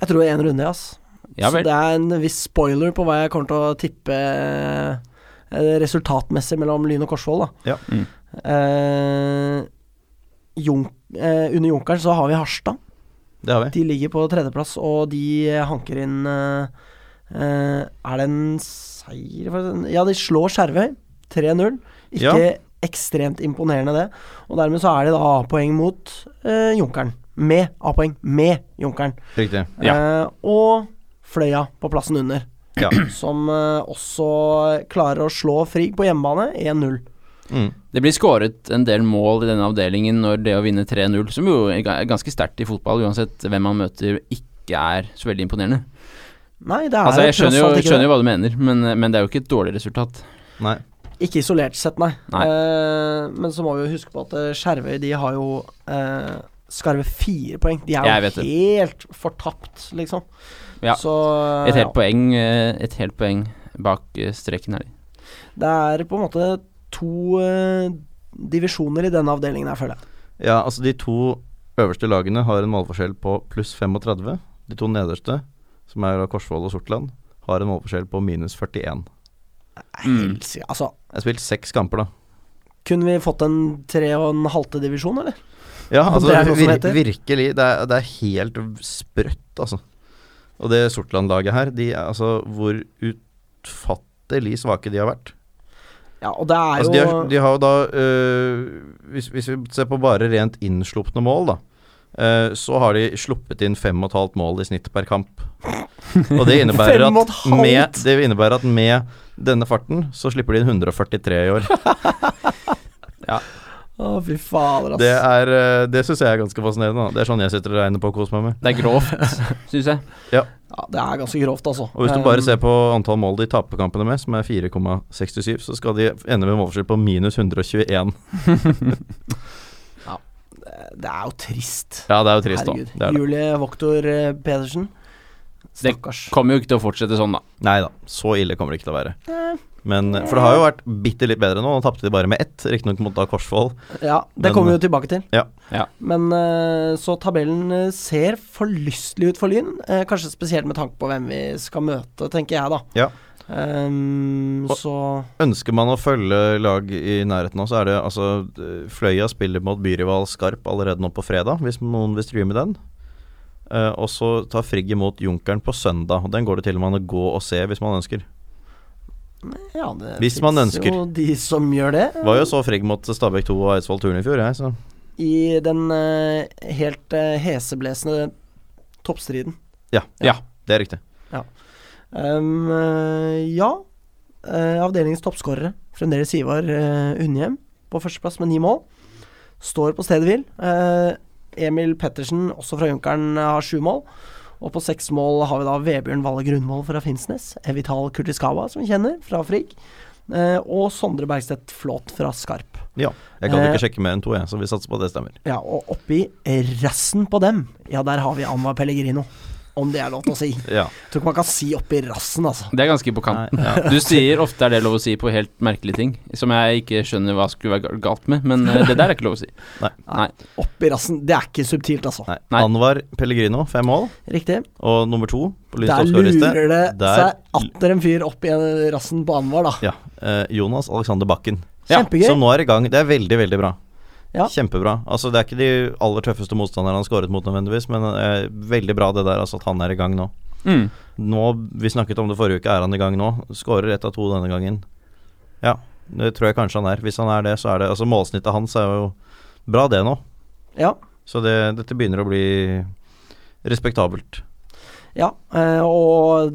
[SPEAKER 1] tror én runde, ass.
[SPEAKER 2] Ja
[SPEAKER 1] Så
[SPEAKER 2] vel.
[SPEAKER 1] det er en viss spoiler på hva jeg kommer til å tippe eh, resultatmessig mellom Lyn og Korsvoll, da.
[SPEAKER 3] Ja.
[SPEAKER 2] Mm.
[SPEAKER 1] Eh, Junk, eh, under Junkeren så har vi Harstad.
[SPEAKER 3] Det har vi.
[SPEAKER 1] De ligger på tredjeplass, og de hanker inn eh, eh, Er det en seier for- Ja, de slår Skjervøy 3-0. Ikke
[SPEAKER 3] Ja.
[SPEAKER 1] ekstremt imponerende, det. Og dermed så er de da A-poeng mot eh, Junkeren. Med A-poeng med Junkeren.
[SPEAKER 3] Riktig.
[SPEAKER 1] Eh, og Fløya på plassen under,
[SPEAKER 3] Ja.
[SPEAKER 1] som eh, også klarer å slå Frigg på hjemmebane 1-0.
[SPEAKER 3] Mm.
[SPEAKER 2] Det blir skåret en del mål i denne avdelingen når det å vinne 3-0, som jo er ga- ganske sterkt i fotball, uansett hvem man møter, ikke er så veldig imponerende.
[SPEAKER 1] Nei, det er
[SPEAKER 2] Altså, jeg
[SPEAKER 1] jo tross
[SPEAKER 2] skjønner jo,
[SPEAKER 1] alt ikke
[SPEAKER 2] skjønner jo
[SPEAKER 1] det.
[SPEAKER 2] hva du mener, men, men det er jo ikke et dårlig resultat.
[SPEAKER 3] Nei.
[SPEAKER 1] Ikke isolert sett, nei.
[SPEAKER 2] Nei.
[SPEAKER 1] Eh, men så må vi jo huske på at eh, Skjervøy de har jo eh, skarve fire poeng. De
[SPEAKER 2] Jeg
[SPEAKER 1] er
[SPEAKER 2] vet
[SPEAKER 1] jo
[SPEAKER 2] det.
[SPEAKER 1] helt fortapt, liksom.
[SPEAKER 2] Ja.
[SPEAKER 1] Så
[SPEAKER 2] Et helt
[SPEAKER 1] ja.
[SPEAKER 2] poeng, eh, et helt poeng bak eh, streken her.
[SPEAKER 1] det er på en måte to eh, divisjoner i denne avdelingen her, føler jeg.
[SPEAKER 3] Ja, altså, de to øverste lagene har en målforskjell på pluss 35. De to nederste, som er da Korsvoll og Sortland, har en målforskjell på minus 41.
[SPEAKER 2] Mm.
[SPEAKER 1] Helt sikkert. Altså,
[SPEAKER 3] Jeg har spilt seks kamper, da.
[SPEAKER 1] kunne vi fått en tre og en halvte divisjon, eller?
[SPEAKER 3] Ja,
[SPEAKER 1] Om
[SPEAKER 3] altså
[SPEAKER 1] det er noe som
[SPEAKER 3] vir
[SPEAKER 1] heter.
[SPEAKER 3] virkelig det er, det er helt sprøtt, altså. Og det Sortland-laget her, de er altså Hvor utfattelig svake de har vært.
[SPEAKER 1] Ja, og det er
[SPEAKER 3] Altså,
[SPEAKER 1] jo
[SPEAKER 3] de, har, de har jo da øh, hvis, hvis vi ser på bare rent innslupne mål, da, eh, så har de sluppet inn 5,5 mål i snitt per kamp. Og det innebærer,
[SPEAKER 1] Fem og
[SPEAKER 3] at
[SPEAKER 1] et halvt?
[SPEAKER 3] med, det innebærer at med denne farten så slipper de inn 143 i år.
[SPEAKER 1] Å, fy fader, ass.
[SPEAKER 3] Det, er, eh, det syns jeg er ganske fascinerende. Da. Det er sånn jeg sitter og regner på og koser meg med.
[SPEAKER 2] Det er grovt, syns jeg.
[SPEAKER 1] ja, det er ganske grovt, altså.
[SPEAKER 3] Og hvis du bare
[SPEAKER 1] Eh,
[SPEAKER 3] ser på antall mål de taper kampene med, som er 4,67, så skal de ende med en målforskjell på minus 121.
[SPEAKER 1] Det er jo trist.
[SPEAKER 3] Ja, det er jo trist, da.
[SPEAKER 1] Herregud.
[SPEAKER 3] Det er det.
[SPEAKER 1] Julie Voktor eh, Pedersen.
[SPEAKER 2] Det-
[SPEAKER 1] Stakkars.
[SPEAKER 2] Kommer jo ikke til å fortsette sånn, da.
[SPEAKER 3] Nei da, så ille kommer det ikke til å være.
[SPEAKER 1] Eh,
[SPEAKER 3] Men, for det har jo vært bitte litt bedre nå. Nå tapte de bare med ett, riktignok mot da Korsvoll.
[SPEAKER 1] Ja, det
[SPEAKER 3] Men- eh,
[SPEAKER 1] kommer vi jo tilbake til.
[SPEAKER 3] Ja.
[SPEAKER 2] Ja.
[SPEAKER 1] Men eh, så tabellen eh, ser forlystelig ut for Lyn. eh, kanskje spesielt med tanke på hvem vi skal møte, tenker jeg, da.
[SPEAKER 3] Ja.
[SPEAKER 1] Ehm,
[SPEAKER 3] Og-
[SPEAKER 1] så
[SPEAKER 3] Ønsker man å følge lag i nærheten nå, så er det altså eh, Fløya spiller mot byrival Skarp allerede nå på fredag, hvis noen vil streame den. Eh, og så tar Frigg imot Junkeren på søndag. og Den går det til og med an å gå og se hvis man ønsker.
[SPEAKER 1] ja, det
[SPEAKER 3] Hvis man
[SPEAKER 1] finnes
[SPEAKER 3] ønsker.
[SPEAKER 1] jo de som gjør det.
[SPEAKER 3] Det var jo så Frigg mot Stabæk 2 og Eidsvoll Turn i fjor, jeg, så
[SPEAKER 1] I den eh, helt eh, heseblesende toppstriden.
[SPEAKER 3] det er riktig.
[SPEAKER 1] Ehm, eh, ja. Eh, avdelingens toppskårere, fremdeles Ivar eh, Unnhjem på førsteplass med ni mål. Står på stedet hvil. Eh, Emil Pettersen, også fra Junkeren, eh, har sju mål. Og på seks mål har vi da Vebjørn Valle Grunnmål fra Finnsnes. Evital Kurtiskawa, som vi kjenner, fra Frigg. Eh, og Sondre Bergstedt Flåt fra Skarp.
[SPEAKER 3] Ja. Jeg kan jo
[SPEAKER 1] Eh.
[SPEAKER 3] ikke sjekke mer enn to, jeg, så vi satser på at det stemmer.
[SPEAKER 1] Ja, og oppi rassen på dem, ja, der har vi Anwar Pellegrino. Om det er lov til å si.
[SPEAKER 3] Ja.
[SPEAKER 1] Tror ikke man kan si oppi rassen, altså.
[SPEAKER 2] Det er ganske på kanten.
[SPEAKER 3] Nei, ja.
[SPEAKER 2] Du sier ofte er det lov å si på helt merkelige ting, som jeg ikke skjønner hva skulle være gal- galt med, men eh, det der er ikke lov å si.
[SPEAKER 3] Nei.
[SPEAKER 2] Nei.
[SPEAKER 1] Oppi rassen. Det er ikke subtilt, altså.
[SPEAKER 3] Nei.
[SPEAKER 2] Nei.
[SPEAKER 3] Anwar Pellegrino, fem mål.
[SPEAKER 1] Riktig.
[SPEAKER 3] Og nummer to på Lyns
[SPEAKER 1] Der
[SPEAKER 3] toppskårerliste
[SPEAKER 1] lurer det
[SPEAKER 3] Der-
[SPEAKER 1] seg atter en fyr opp i en- rassen på Anwar, da.
[SPEAKER 3] Ja. eh, Jonas Alexander Bakken.
[SPEAKER 2] Ja,
[SPEAKER 1] Kjempegøy.
[SPEAKER 3] Som nå er i gang. Det er veldig, veldig bra.
[SPEAKER 1] Ja.
[SPEAKER 3] Kjempebra. Altså Det er ikke de aller tøffeste motstanderne han skåret mot nødvendigvis, men eh, veldig bra det der altså at han er i gang nå.
[SPEAKER 2] Mm.
[SPEAKER 3] Nå, Vi snakket om det forrige uke, er han i gang nå? Skårer ett av to denne gangen. Ja, det tror jeg kanskje han er. Hvis han er det, så er det Altså Målsnittet hans er jo bra, det nå.
[SPEAKER 1] Ja.
[SPEAKER 3] Så det, dette begynner å bli respektabelt.
[SPEAKER 1] ja. eh, Og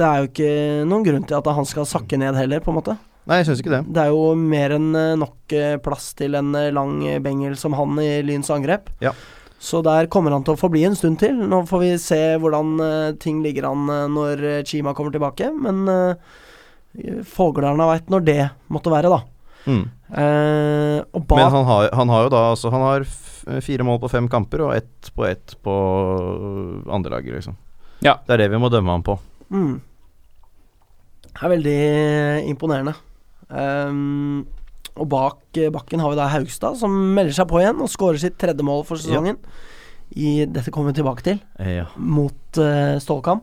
[SPEAKER 1] det er jo ikke noen grunn til at han skal sakke ned heller, på en måte.
[SPEAKER 3] Nei, jeg syns ikke det.
[SPEAKER 1] Det er jo mer enn eh, nok eh, plass til en eh, lang eh, bengel som han i Lyns angrep.
[SPEAKER 3] Ja.
[SPEAKER 1] Så der kommer han til å forbli en stund til. Nå får vi se hvordan eh, ting ligger an eh, når eh, Chima kommer tilbake, men uh, Foglarna veit når det måtte være, da.
[SPEAKER 3] Mm.
[SPEAKER 1] Eh, og bak
[SPEAKER 3] Men han har, han har jo da altså, Han har f fire mål på fem kamper og ett på ett på øh, andre laget, liksom.
[SPEAKER 2] Ja.
[SPEAKER 3] Det er det vi må dømme ham på.
[SPEAKER 1] Mm. Det er veldig imponerende. Ehm, og bak eh, bakken har vi da Haugstad, som melder seg på igjen og skårer sitt tredje mål for sesongen. I, dette kommer vi tilbake til,
[SPEAKER 3] Ja.
[SPEAKER 1] mot eh, Stålkam.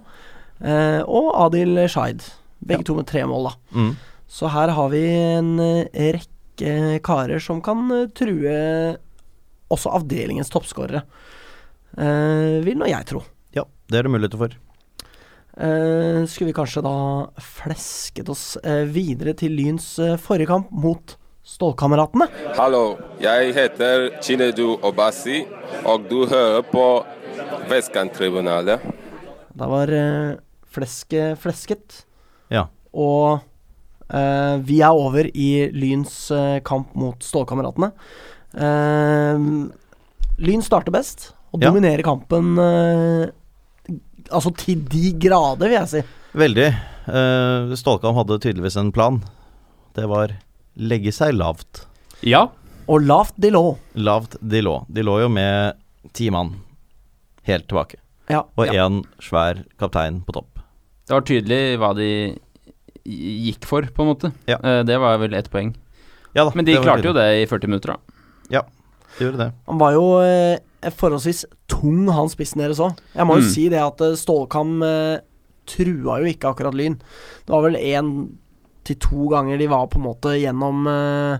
[SPEAKER 1] Eh, og Adil Shaid. Begge to med tre mål, da.
[SPEAKER 3] Mm.
[SPEAKER 1] Så her har vi en eh, rekke karer som kan eh, true også avdelingens toppskårere. Eh, vil nå jeg tro.
[SPEAKER 3] ja, det er det muligheter for.
[SPEAKER 1] Eh, skulle vi kanskje da flesket oss eh, videre til Lyns eh, forrige kamp mot Stålkameratene?
[SPEAKER 5] Hallo, jeg heter Chinedu Obasi, og du hører på Vestkanttribunalet.
[SPEAKER 1] Da var eh, flesket flesket,
[SPEAKER 3] Ja.
[SPEAKER 1] og eh, vi er over i Lyns eh, kamp mot Stålkameratene. Eh, Lyn starter best, og
[SPEAKER 3] Ja.
[SPEAKER 1] dominerer kampen eh, altså til de grader, vil jeg si.
[SPEAKER 3] Veldig. Eh, Stålkam hadde tydeligvis en plan. Det var legge seg lavt.
[SPEAKER 2] Ja.
[SPEAKER 1] Og lavt de lå.
[SPEAKER 3] Lavt de lå. De lå jo med ti mann helt tilbake.
[SPEAKER 1] Ja,
[SPEAKER 3] Og
[SPEAKER 1] ja.
[SPEAKER 3] én svær kaptein på topp.
[SPEAKER 2] Det var tydelig hva de gikk for, på en måte.
[SPEAKER 3] Ja.
[SPEAKER 2] Eh, Det var vel ett poeng.
[SPEAKER 3] Ja da,
[SPEAKER 2] Men de
[SPEAKER 3] var
[SPEAKER 2] klarte jo
[SPEAKER 3] tydelig.
[SPEAKER 2] det i 40 minutter, da.
[SPEAKER 3] De gjorde det.
[SPEAKER 1] Han var jo eh, forholdsvis tung, han spissen deres òg. Jeg må jo
[SPEAKER 2] Mm.
[SPEAKER 1] si det at eh, Stålkam eh, trua jo ikke akkurat Lyn. Det var vel én til to ganger de var på en måte gjennom eh,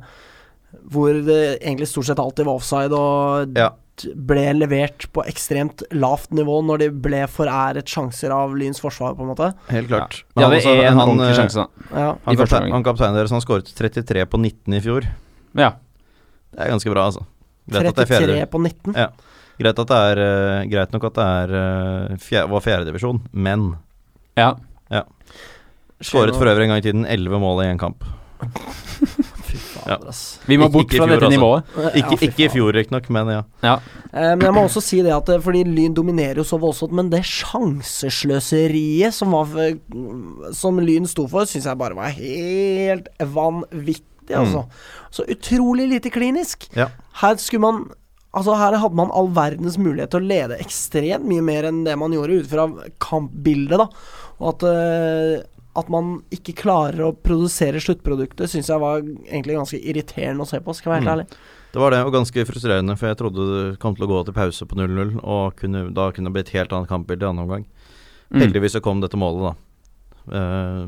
[SPEAKER 1] hvor det egentlig stort sett alltid var offside og
[SPEAKER 3] Ja.
[SPEAKER 1] d- ble levert på ekstremt lavt nivå når de ble foræret sjanser av Lyns forsvar, på en måte.
[SPEAKER 3] Helt klart.
[SPEAKER 2] De hadde
[SPEAKER 3] altså,
[SPEAKER 2] én
[SPEAKER 3] han, eh,
[SPEAKER 2] ordentlig sjanse, da.
[SPEAKER 1] Ja.
[SPEAKER 3] Han,
[SPEAKER 2] i første omgang.
[SPEAKER 3] kaptein, han kapteinen deres han skåret 33 på 19 i fjor.
[SPEAKER 2] Ja.
[SPEAKER 3] Det er ganske bra, altså. Greit at det er
[SPEAKER 1] 33
[SPEAKER 3] fjerde.
[SPEAKER 1] på 19.
[SPEAKER 3] Ja. Greit, at det er, eh, greit nok at det er, eh, fjer- var fjerdedivisjon, men
[SPEAKER 2] Ja.
[SPEAKER 3] skåret for øvrig en gang i tiden elleve mål i én kamp.
[SPEAKER 1] Fy fader, ass.
[SPEAKER 2] Vi må
[SPEAKER 3] Ikke-
[SPEAKER 2] bort
[SPEAKER 3] ikke i
[SPEAKER 2] fra
[SPEAKER 3] fjor,
[SPEAKER 2] dette
[SPEAKER 3] altså.
[SPEAKER 2] nivået.
[SPEAKER 3] Ikke,
[SPEAKER 1] Ja, fy
[SPEAKER 3] ikke i
[SPEAKER 1] faen.
[SPEAKER 3] fjor, riktignok, men ja.
[SPEAKER 2] Ja.
[SPEAKER 1] Eh, Men jeg må også si det at eh, Fordi Lyn dominerer jo så voldsomt, men det sjansesløseriet som, var, f- som Lyn sto for, syns jeg bare var helt vanvittig, altså. Så utrolig lite klinisk.
[SPEAKER 3] Ja.
[SPEAKER 1] Her skulle man Altså Her hadde man all verdens mulighet til å lede ekstremt mye mer enn det man gjorde ut fra kampbildet, da. Og at, eh, at man ikke klarer å produsere sluttproduktet, syns jeg var egentlig ganske irriterende å se på, skal jeg være helt
[SPEAKER 3] Mm.
[SPEAKER 1] ærlig.
[SPEAKER 3] Det var det, og ganske frustrerende, for jeg trodde det kom til å gå til pause på 0-0, og kunne, da kunne det bli et helt annet kampbilde i andre omgang.
[SPEAKER 2] Mm.
[SPEAKER 3] Heldigvis så kom dette målet, da. Eh,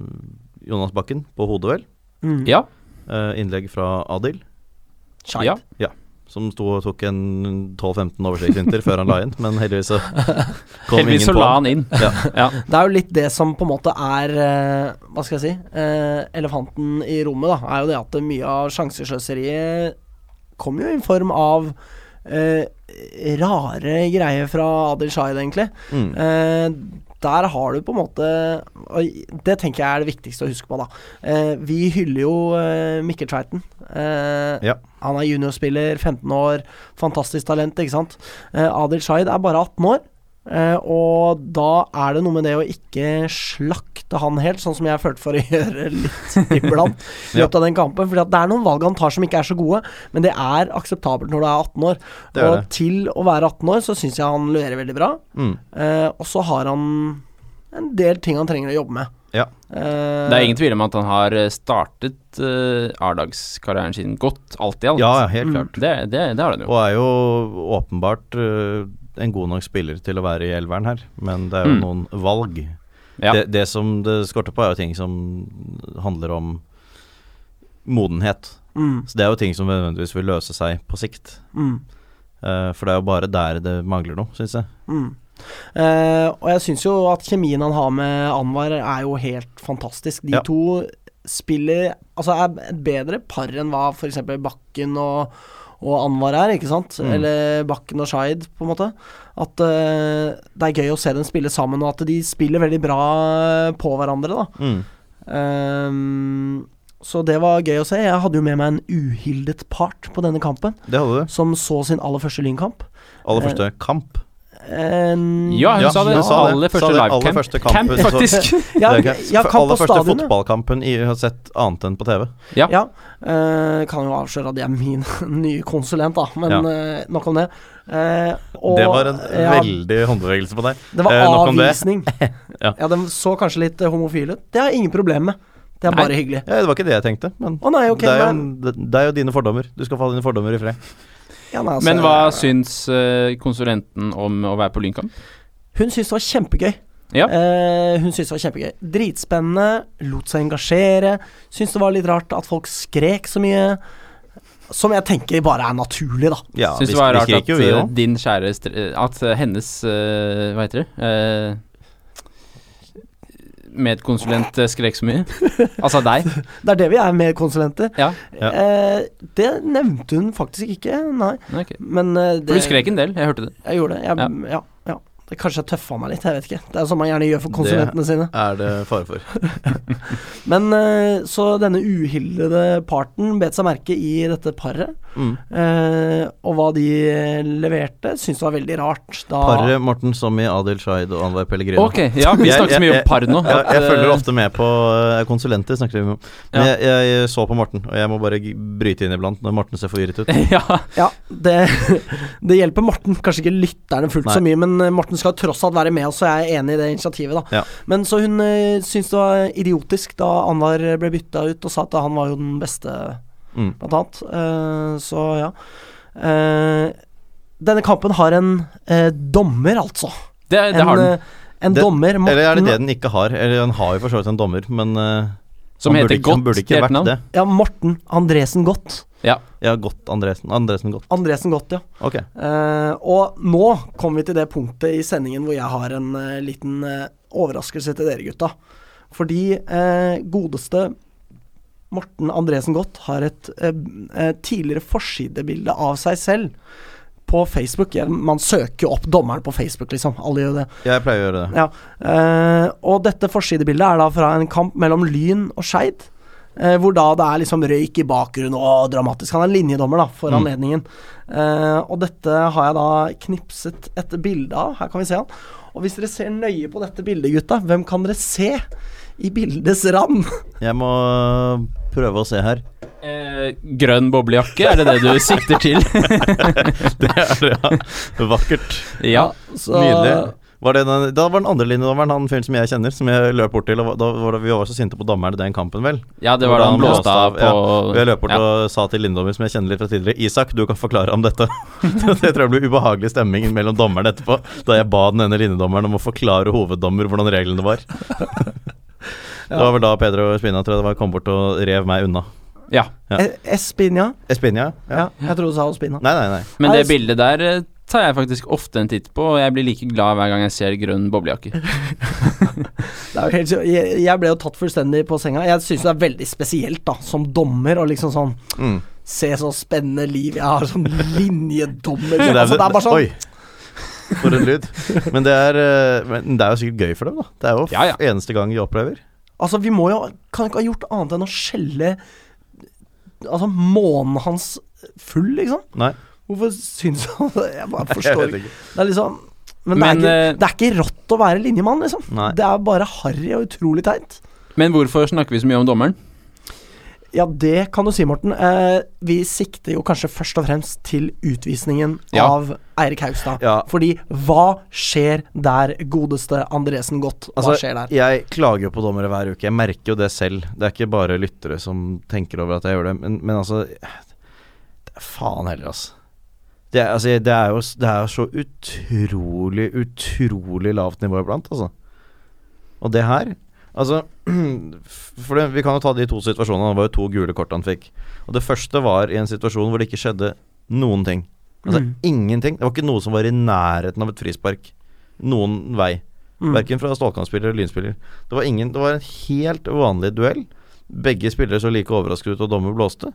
[SPEAKER 3] Jonas Bakken på hodet, vel.
[SPEAKER 1] Mm.
[SPEAKER 2] Ja.
[SPEAKER 3] Eh, innlegg fra Adil,
[SPEAKER 1] Shite.
[SPEAKER 2] ja.
[SPEAKER 3] som sto og tok en 12-15 oversiktsvinter før han la inn, men heldigvis så kom
[SPEAKER 2] Heldigvis så
[SPEAKER 3] ingen på.
[SPEAKER 2] la
[SPEAKER 3] han.
[SPEAKER 2] han inn.
[SPEAKER 3] Ja.
[SPEAKER 2] Ja.
[SPEAKER 1] Det er jo litt det som på en måte er eh, Hva skal jeg si eh, Elefanten i rommet, da. Er jo det at mye av sjansesløseriet kommer jo i form av eh, rare greier fra Adil Shahid, egentlig.
[SPEAKER 3] Mm.
[SPEAKER 1] Eh, der har du på en måte og Det tenker jeg er det viktigste å huske på, da. Eh, vi hyller jo eh, Mikkel Tveiten. Eh,
[SPEAKER 3] Ja.
[SPEAKER 1] Han er juniorspiller, 15 år, fantastisk talent, ikke sant. Eh, Adil Shahid er bare 18 år. eh, og da er det noe med det å ikke slakte han helt, sånn som jeg følte for å gjøre litt iblant i
[SPEAKER 3] Ja.
[SPEAKER 1] løpet av den kampen. For det er noen valg han tar som ikke er så gode, men det er akseptabelt når du er 18 år.
[SPEAKER 3] Det er
[SPEAKER 1] og
[SPEAKER 3] det.
[SPEAKER 1] til å være 18 år, så syns jeg han leverer veldig bra.
[SPEAKER 3] Mm.
[SPEAKER 1] Eh, og så har han en del ting han trenger å jobbe med.
[SPEAKER 3] Ja.
[SPEAKER 1] Eh,
[SPEAKER 2] Det er ingen tvil om at han har eh, startet uh, A-dagskarrieren sin godt, alt i alt.
[SPEAKER 3] ja, ja, helt klart.
[SPEAKER 2] Det, det, det har han jo.
[SPEAKER 3] Og er jo åpenbart eh, en god nok spiller til å være i elveren her, men det er jo
[SPEAKER 2] Mm.
[SPEAKER 3] noen valg.
[SPEAKER 2] Ja.
[SPEAKER 3] Det, det som det skorter på, er jo ting som handler om modenhet.
[SPEAKER 1] mm,
[SPEAKER 3] Så det er jo ting som nødvendigvis vil løse seg på sikt.
[SPEAKER 1] mm,
[SPEAKER 3] Eh, for det er jo bare der det mangler noe, syns jeg.
[SPEAKER 1] mm. Eh, og jeg syns jo at kjemien han har med Anwar, er jo helt fantastisk. De
[SPEAKER 3] Ja.
[SPEAKER 1] to spiller Altså er et bedre par enn hva f.eks. Bakken og, og Anwar er, ikke sant?
[SPEAKER 3] Mm.
[SPEAKER 1] Eller Bakken og Shaid, på en måte. At eh, det er gøy å se dem spille sammen, og at de spiller veldig bra på hverandre, da.
[SPEAKER 3] Mm.
[SPEAKER 1] Ehm, så det var gøy å se. Jeg hadde jo med meg en uhildet part på denne kampen,
[SPEAKER 3] Det hadde du.
[SPEAKER 1] som så sin aller første Lynkamp.
[SPEAKER 3] Aller første kamp.
[SPEAKER 1] Ehm,
[SPEAKER 2] Ja, hun sa det.
[SPEAKER 3] hun sa det.
[SPEAKER 2] Aller
[SPEAKER 3] Sa
[SPEAKER 2] første
[SPEAKER 3] det aller
[SPEAKER 2] livecamp.
[SPEAKER 3] første kampen,
[SPEAKER 2] Camp,
[SPEAKER 3] så-
[SPEAKER 2] faktisk.
[SPEAKER 1] ja,
[SPEAKER 3] Det er
[SPEAKER 1] ja,
[SPEAKER 3] ikke-
[SPEAKER 1] kamp på
[SPEAKER 3] Aller første
[SPEAKER 1] stadionet.
[SPEAKER 3] fotballkampen jeg har sett annet enn på TV.
[SPEAKER 2] Ja.
[SPEAKER 1] Ja. eh, kan jo avsløre at jeg er min nye konsulent, da, men
[SPEAKER 3] Ja.
[SPEAKER 1] eh, nok om det. Eh, og-
[SPEAKER 3] det var en
[SPEAKER 1] ja,
[SPEAKER 3] veldig håndbevegelse på deg.
[SPEAKER 1] Det var
[SPEAKER 3] eh, nok om det.
[SPEAKER 1] avvisning.
[SPEAKER 3] Ja.
[SPEAKER 1] ja. den så kanskje litt eh, homofil ut. Det har jeg ingen problem med. Det er
[SPEAKER 2] Nei.
[SPEAKER 1] bare hyggelig.
[SPEAKER 3] Ja, det var ikke det jeg tenkte, men
[SPEAKER 1] Å nei, ok.
[SPEAKER 3] det, er jo,
[SPEAKER 1] men-
[SPEAKER 3] det, det er jo dine fordommer. Du skal få ha dine fordommer i fred.
[SPEAKER 1] ja, nei, altså,
[SPEAKER 2] Men hva syns eh, konsulenten om å være på Lynkamp?
[SPEAKER 1] Hun syntes det var kjempegøy.
[SPEAKER 2] Ja.
[SPEAKER 1] Eh, hun syntes det var kjempegøy. Dritspennende, lot seg engasjere. Syntes det var litt rart at folk skrek så mye. Som jeg tenker bare er naturlig, da.
[SPEAKER 3] Ja,
[SPEAKER 2] Syns
[SPEAKER 3] vi-
[SPEAKER 2] det var
[SPEAKER 3] vi
[SPEAKER 2] rart
[SPEAKER 3] skrek
[SPEAKER 2] at
[SPEAKER 3] jo, vi
[SPEAKER 2] eh,
[SPEAKER 3] også.
[SPEAKER 2] din kjære str- eh, At eh, hennes eh, Hva heter det? Eh, medkonsulent eh, skrek så mye. Altså deg.
[SPEAKER 1] Det er det vi er med konsulenter.
[SPEAKER 2] Ja.
[SPEAKER 3] Ja.
[SPEAKER 1] Eh, det nevnte hun faktisk ikke, nei.
[SPEAKER 2] Nei, ok.
[SPEAKER 1] Men eh,
[SPEAKER 2] For
[SPEAKER 1] det,
[SPEAKER 2] du skrek en del, jeg hørte det.
[SPEAKER 1] Jeg gjorde det. Jeg, ja. ja, Det Kanskje jeg tøffa meg litt, jeg vet ikke. Det er sånn man gjerne gjør for konsulentene sine.
[SPEAKER 3] Er det fare for.
[SPEAKER 1] Men eh, så denne uhildede parten bet seg merke i dette paret.
[SPEAKER 3] Mm.
[SPEAKER 1] Eh, og hva de eh, leverte, syntes det var veldig rart. Da,
[SPEAKER 3] Paret Morten som i Adil Shaid og Anwar Pellegrino.
[SPEAKER 2] Ok, ja, vi
[SPEAKER 3] Jeg-
[SPEAKER 2] snakker så mye
[SPEAKER 3] jeg-
[SPEAKER 2] om par nå.
[SPEAKER 3] Jeg,
[SPEAKER 2] at,
[SPEAKER 3] jeg
[SPEAKER 2] eh,
[SPEAKER 3] følger ofte med på eh, konsulenter, snakker vi om. Men
[SPEAKER 2] Ja.
[SPEAKER 3] jeg, jeg så på Morten, og jeg må bare g- bryte inn iblant når Morten ser forvirret ut.
[SPEAKER 2] ja,
[SPEAKER 1] Ja, det, det hjelper Morten. Kanskje ikke lytterne fullt så mye, men eh, Morten skal tross alt være med oss, så jeg er enig i det initiativet, da.
[SPEAKER 3] Ja.
[SPEAKER 1] Men så hun eh, syntes det var idiotisk da Anwar ble bytta ut, og sa at han var jo den beste,
[SPEAKER 3] Mm.
[SPEAKER 1] blant annet. Eh, så ja. Eh, denne kampen har en eh, dommer, altså.
[SPEAKER 2] det, det
[SPEAKER 1] en
[SPEAKER 2] har den.
[SPEAKER 1] eh, en
[SPEAKER 3] Det-
[SPEAKER 1] dommer. Morten,
[SPEAKER 3] Eller er det det den ikke har? Eller han har jo for så vidt en dommer, men eh,
[SPEAKER 2] Som
[SPEAKER 3] han
[SPEAKER 2] heter
[SPEAKER 3] burde ikke- han
[SPEAKER 2] Godt
[SPEAKER 3] burde
[SPEAKER 2] til
[SPEAKER 3] ikke
[SPEAKER 2] et navn.
[SPEAKER 3] vært det.
[SPEAKER 1] Ja, Morten Andresen Godt.
[SPEAKER 3] Ja, Godt Andresen. Andresen Godt.
[SPEAKER 1] Andresen Godt, ja.
[SPEAKER 3] Ok.
[SPEAKER 1] Eh, og nå kommer vi til det punktet i sendingen hvor jeg har en eh, liten eh, overraskelse til dere gutta. Fordi eh, godeste Morten Andresen Godt har et eh, eh, tidligere forsidebilde av seg selv på Facebook. Ja, Man søker jo opp dommeren på Facebook, liksom. Alle gjør jo det.
[SPEAKER 3] Jeg pleier å gjøre det.
[SPEAKER 1] Ja, eh, og dette forsidebildet er da fra en kamp mellom Lyn og Skeid. eh, hvor da det er liksom røyk i bakgrunnen og dramatisk. Han er linjedommer da, for anledningen. Eh, og dette har jeg da knipset et bilde av. Her kan vi se han. Og hvis dere ser nøye på dette bildet, gutta, hvem kan dere se i bildets rand?
[SPEAKER 3] Jeg må prøve å se her.
[SPEAKER 2] Eh, grønn boblejakke, er det det du sikter til?
[SPEAKER 3] Det er ja, vakkert.
[SPEAKER 2] ja.
[SPEAKER 1] Så-
[SPEAKER 3] Nydelig. Var det den, da var den andre linjedommeren, han fyren som jeg kjenner, som jeg løp bort til. Og da var det, vi var så sinte på dommeren i den kampen, vel.
[SPEAKER 2] ja, det var da han blåste av
[SPEAKER 3] ja.
[SPEAKER 2] på
[SPEAKER 3] Og jeg løp bort
[SPEAKER 2] ja.
[SPEAKER 3] og sa til linjedommer, som jeg kjenner litt fra tidligere, Isak, du kan forklare om dette. det tror jeg blir ubehagelig stemning mellom dommerne etterpå, da jeg ba den ene linjedommeren om å forklare hoveddommer hvordan reglene var. Det var vel da Pedro Espina tror jeg det var, kom bort og rev meg unna.
[SPEAKER 2] ja.
[SPEAKER 3] Ja.
[SPEAKER 1] Eh, Espinja.
[SPEAKER 3] Espina? Ja.
[SPEAKER 1] Ja, jeg trodde du sa Ospina.
[SPEAKER 3] Nei, nei, nei.
[SPEAKER 2] Men
[SPEAKER 1] Nei,
[SPEAKER 2] det
[SPEAKER 1] s-
[SPEAKER 2] bildet der eh, tar jeg faktisk ofte en titt på, og jeg blir like glad hver gang jeg ser grønn boblejakke.
[SPEAKER 1] Det er jo helt, sy- jeg, jeg ble jo tatt fullstendig på senga. Jeg syns det er veldig spesielt, da, som dommer, og liksom sånn
[SPEAKER 3] Mm.
[SPEAKER 1] Se så spennende liv jeg har, sånn linjedommer
[SPEAKER 3] Så
[SPEAKER 1] altså, Det er bare sånn
[SPEAKER 3] Oi. For en lyd. Men det, er, eh, men det er jo sikkert gøy for dem, da. Det er jo
[SPEAKER 2] Ja, ja.
[SPEAKER 3] eneste gang de opplever.
[SPEAKER 1] Altså, vi må jo Kan ikke ha gjort annet enn å skjelle Altså, månen hans full, liksom.
[SPEAKER 3] Nei,
[SPEAKER 1] Hvorfor syns han det? Jeg bare
[SPEAKER 3] jeg
[SPEAKER 1] forstår
[SPEAKER 3] vet
[SPEAKER 1] ikke.
[SPEAKER 3] ikke.
[SPEAKER 1] Det er liksom men,
[SPEAKER 2] Men,
[SPEAKER 1] det, er
[SPEAKER 2] eh,
[SPEAKER 1] ikke, det er ikke rått å være linjemann, liksom.
[SPEAKER 3] Nei.
[SPEAKER 1] Det er bare harry og utrolig teit.
[SPEAKER 2] Men hvorfor snakker vi så mye om dommeren?
[SPEAKER 1] Ja, det kan du si, Morten. Eh, vi sikter jo kanskje først og fremst til utvisningen
[SPEAKER 2] Ja.
[SPEAKER 1] av Eirik Haugstad.
[SPEAKER 3] Ja.
[SPEAKER 1] Fordi hva skjer der, godeste Andresen Godt? Hva
[SPEAKER 3] Altså,
[SPEAKER 1] skjer der?
[SPEAKER 3] Jeg klager jo på dommere hver uke. Jeg merker jo det selv. Det er ikke bare lyttere som tenker over at jeg gjør det. Men, men altså det er Faen heller, altså. Det er, altså, det er jo det er jo så utrolig, utrolig lavt nivå iblant, altså. Og det her Altså, for det, vi kan jo ta de to situasjonene. Det var jo to gule kort han fikk. Og det første var i en situasjon hvor det ikke skjedde noen ting. Altså
[SPEAKER 1] Mm.
[SPEAKER 3] ingenting. Det var ikke noe som var i nærheten av et frispark. Noen vei.
[SPEAKER 1] Mm.
[SPEAKER 3] Verken fra Stålkamp-spiller eller Lynspiller. Det var, ingen, det var en helt vanlig duell. Begge spillere så like overrasket ut, og dommer blåste.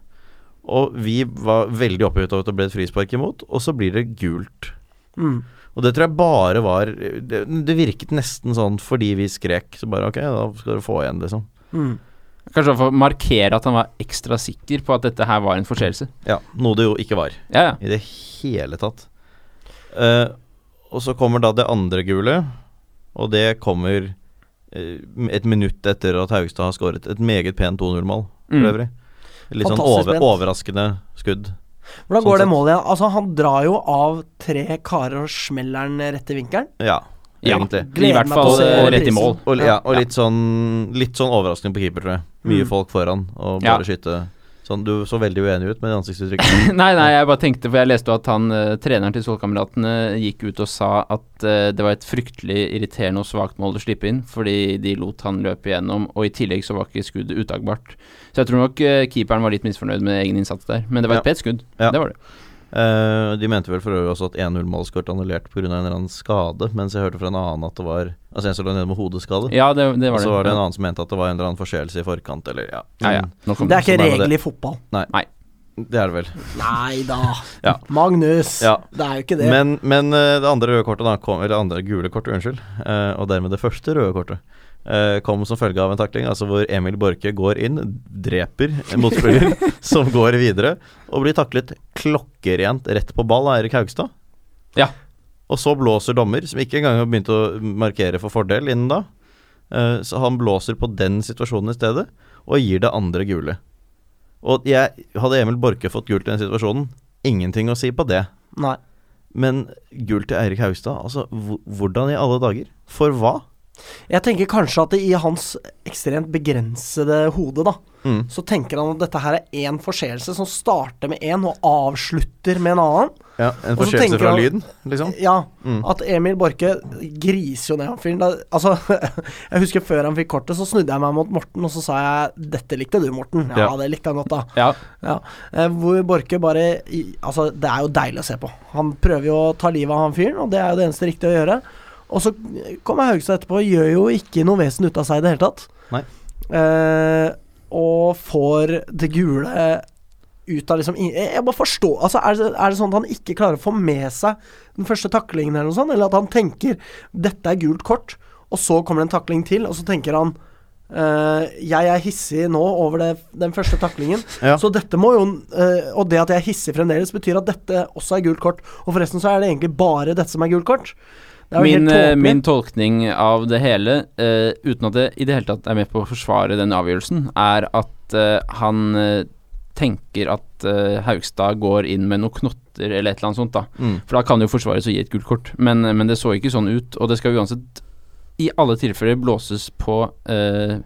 [SPEAKER 3] Og vi var veldig oppgitt over at det ble et frispark imot, og så blir det gult.
[SPEAKER 1] Mm.
[SPEAKER 3] Og det tror jeg bare var Det, det virket nesten sånn fordi vi skrek. Så bare ok, da skal dere få igjen, liksom.
[SPEAKER 1] Mm.
[SPEAKER 2] Kanskje for å markere at han var ekstra sikker på at dette her var en forseelse.
[SPEAKER 3] Ja, Noe det jo ikke var.
[SPEAKER 2] Ja, ja.
[SPEAKER 3] I det hele tatt. Eh, og så kommer da det andre gule, og det kommer eh, et minutt etter at Haugstad har skåret et meget pent 2-0-mål, for
[SPEAKER 2] Mm.
[SPEAKER 3] øvrig. Litt sånn
[SPEAKER 1] Fantastisk
[SPEAKER 3] over,
[SPEAKER 1] pent.
[SPEAKER 3] overraskende skudd.
[SPEAKER 1] Hvordan
[SPEAKER 3] Sånn
[SPEAKER 1] går det
[SPEAKER 3] sett.
[SPEAKER 1] målet igjen? Altså, han drar jo av tre karer og smeller den rett i vinkelen.
[SPEAKER 3] Ja,
[SPEAKER 2] ja.
[SPEAKER 3] egentlig.
[SPEAKER 2] I hvert fall
[SPEAKER 3] til å se
[SPEAKER 2] eh, rett i mål.
[SPEAKER 1] prisen.
[SPEAKER 3] Og,
[SPEAKER 1] Ja.
[SPEAKER 3] ja, og litt, sånn, litt sånn overraskende på keeper, tror jeg. Mye folk foran, og
[SPEAKER 2] Ja.
[SPEAKER 3] bare skyte sånn. Du så veldig uenig ut med det ansiktsuttrykket.
[SPEAKER 2] Nei, nei, jeg bare tenkte, for jeg leste jo at han, eh, treneren til Stålkameratene gikk ut og sa at eh, det var et fryktelig irriterende og svakt mål å slippe inn, fordi de lot han løpe igjennom, og i tillegg så var ikke skuddet uttagbart. Så jeg tror nok eh, keeperen var litt misfornøyd med egen innsats der, men det var et pent skudd.
[SPEAKER 3] Ja.
[SPEAKER 2] Det var det.
[SPEAKER 3] Eh, de mente vel for øvrig også at 1-0-målet skulle vært annullert pga. en eller annen skade, mens jeg hørte fra en annen at det var Altså en som lå nede med hodeskade.
[SPEAKER 2] Ja, det, det
[SPEAKER 3] Og
[SPEAKER 2] var det.
[SPEAKER 3] så var det en annen som mente at det var en eller annen forseelse i forkant, eller ja.
[SPEAKER 2] Ja, ja. Nå kom
[SPEAKER 1] Det er
[SPEAKER 2] det.
[SPEAKER 1] ikke
[SPEAKER 3] Sånn er det.
[SPEAKER 1] regel i fotball.
[SPEAKER 3] Det er det vel.
[SPEAKER 1] Nei da.
[SPEAKER 3] Ja.
[SPEAKER 1] Magnus.
[SPEAKER 3] Ja.
[SPEAKER 1] Det er jo ikke det.
[SPEAKER 3] Men, men eh, det andre røde kortet, da, kom, eller andre gule kortet, unnskyld, eh, og dermed det første røde kortet, eh, kom som følge av en takling, altså hvor Emil Borke går inn, dreper en motspiller som går videre, og blir taklet klokkerent rett på ball av Erik Haugstad.
[SPEAKER 2] Ja.
[SPEAKER 3] Og så blåser dommer, som ikke engang har begynt å markere for fordel innen da, eh, så han blåser på den situasjonen i stedet, og gir det andre gule. Og jeg, hadde Emil Borke fått gult i den situasjonen, ingenting å si på det.
[SPEAKER 1] Nei.
[SPEAKER 3] Men gull til Eirik Haugstad, altså hv- hvordan i alle dager? For hva?
[SPEAKER 1] Jeg tenker kanskje at det i hans ekstremt begrensede hode, da, så tenker han at dette her er én forseelse som starter med én og avslutter med en annen.
[SPEAKER 3] Ja, En
[SPEAKER 1] Og så
[SPEAKER 3] forseelse
[SPEAKER 1] tenker
[SPEAKER 3] fra
[SPEAKER 1] han-
[SPEAKER 3] lyden, liksom?
[SPEAKER 1] Ja, at Emil Borke griser jo ned han fyren. Da- Altså, jeg husker før han fikk kortet, så snudde jeg meg mot Morten, og så sa jeg 'Dette likte du, Morten'. Ja,
[SPEAKER 3] Ja.
[SPEAKER 1] det likte han godt, da.
[SPEAKER 2] Ja.
[SPEAKER 1] Ja. Eh, hvor Borke bare i- Altså, det er jo deilig å se på. Han prøver jo å ta livet av han fyren, og det er jo det eneste riktige å gjøre. Og så kommer Haugstad etterpå og gjør jo ikke noe vesen ut av seg i
[SPEAKER 3] Eh,
[SPEAKER 1] det hele tatt.
[SPEAKER 3] Nei.
[SPEAKER 1] Eh, og får det gule ut av liksom ing- Jeg jeg bare forstår altså, er, det, er det sånn at han ikke klarer å få med seg den første taklingen, eller noe sånt? Eller at han tenker 'dette er gult kort', og så kommer det en takling til, og så tenker han eh, jeg er hissig nå over det, den første taklingen,
[SPEAKER 3] Ja.
[SPEAKER 1] så dette må jo eh, Og det at jeg er hissig fremdeles, betyr at dette også er gult kort. Og forresten så er det egentlig bare dette som er gult kort. Det er jo
[SPEAKER 2] Min,
[SPEAKER 1] helt
[SPEAKER 2] eh,
[SPEAKER 1] tåpelig.
[SPEAKER 2] min tolkning av det hele, eh, uten at jeg i det hele tatt er med på å forsvare den avgjørelsen, er at eh, han eh, tenker at eh, Haugstad går inn med noen knotter eller et eller annet sånt, da.
[SPEAKER 3] Mm.
[SPEAKER 2] For da kan jo Forsvaret så gi et gult kort, men, men det så ikke sånn ut. Og det skal uansett i alle tilfeller blåses på eh,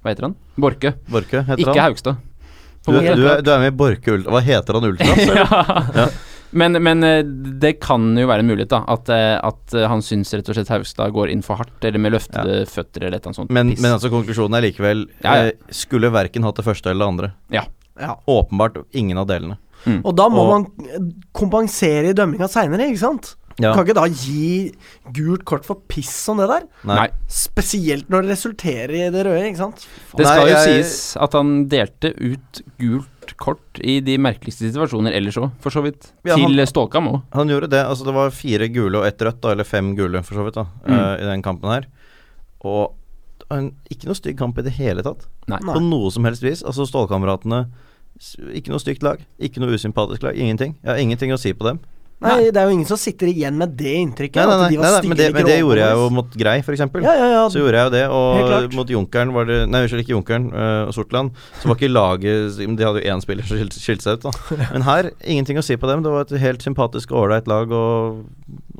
[SPEAKER 2] Hva heter han? Borke.
[SPEAKER 3] Borke heter
[SPEAKER 2] Ikke
[SPEAKER 3] han.
[SPEAKER 2] Haugstad.
[SPEAKER 3] Du,
[SPEAKER 2] Borke.
[SPEAKER 3] du, er, du er med i Borke Ultra. Hva heter han Ultra?
[SPEAKER 2] ja.
[SPEAKER 3] Ja.
[SPEAKER 2] Men, men eh, det kan jo være en mulighet, da. At, eh, at eh, han syns rett og slett Haugstad går inn for hardt, eller med løftede føtter, eller et eller annet sånt.
[SPEAKER 3] Men,
[SPEAKER 2] piss.
[SPEAKER 3] men altså konklusjonen er likevel
[SPEAKER 2] Ja, ja.
[SPEAKER 3] eh, Skulle verken hatt det første eller det andre.
[SPEAKER 1] ja.
[SPEAKER 3] Åpenbart ingen av delene.
[SPEAKER 1] Og da må
[SPEAKER 3] Og-
[SPEAKER 1] man eh, kompensere i dømminga seinere, ikke sant?
[SPEAKER 3] Ja.
[SPEAKER 1] Kan ikke da gi gult kort for piss som det der?
[SPEAKER 3] Nei.
[SPEAKER 2] Nei.
[SPEAKER 1] Spesielt når det resulterer i det røde, ikke sant?
[SPEAKER 2] Det skal
[SPEAKER 3] Nei,
[SPEAKER 2] jo
[SPEAKER 3] jeg-
[SPEAKER 2] sies at han delte ut gult kort i de merkeligste situasjoner ellers òg, for så vidt.
[SPEAKER 3] Ja, han-
[SPEAKER 2] Til eh, Stålkam òg.
[SPEAKER 3] Han gjorde det. Altså det var fire gule og ett rødt, da, eller fem gule for så vidt, da,
[SPEAKER 2] Mm.
[SPEAKER 3] eh, i den kampen her. Og det var en, ikke noe stygg kamp i det hele tatt.
[SPEAKER 2] Nei.
[SPEAKER 1] Nei.
[SPEAKER 3] På noe som helst vis. Altså Stålkameratene s- Ikke noe stygt lag. Ikke noe usympatisk lag. Ingenting. Jeg har ingenting å si på dem.
[SPEAKER 1] Nei, det er jo ingen som sitter igjen med det inntrykket.
[SPEAKER 3] Nei, nei, nei,
[SPEAKER 1] at de var
[SPEAKER 3] nei, nei
[SPEAKER 1] stygge
[SPEAKER 3] men, det, men det
[SPEAKER 1] gråhårene.
[SPEAKER 3] gjorde jeg jo mot Grei, for eksempel.
[SPEAKER 1] Ja, ja, ja.
[SPEAKER 3] Så gjorde jeg jo det,
[SPEAKER 1] Helt
[SPEAKER 3] og
[SPEAKER 1] klart.
[SPEAKER 3] mot Junkeren var det Nei, unnskyld, ikke Junkeren, eh, Sortland. Så var ikke laget men De hadde jo én spiller som skilte, skilte seg ut, da. Men her, ingenting å si på dem. Det var et helt sympatisk og ålreit lag og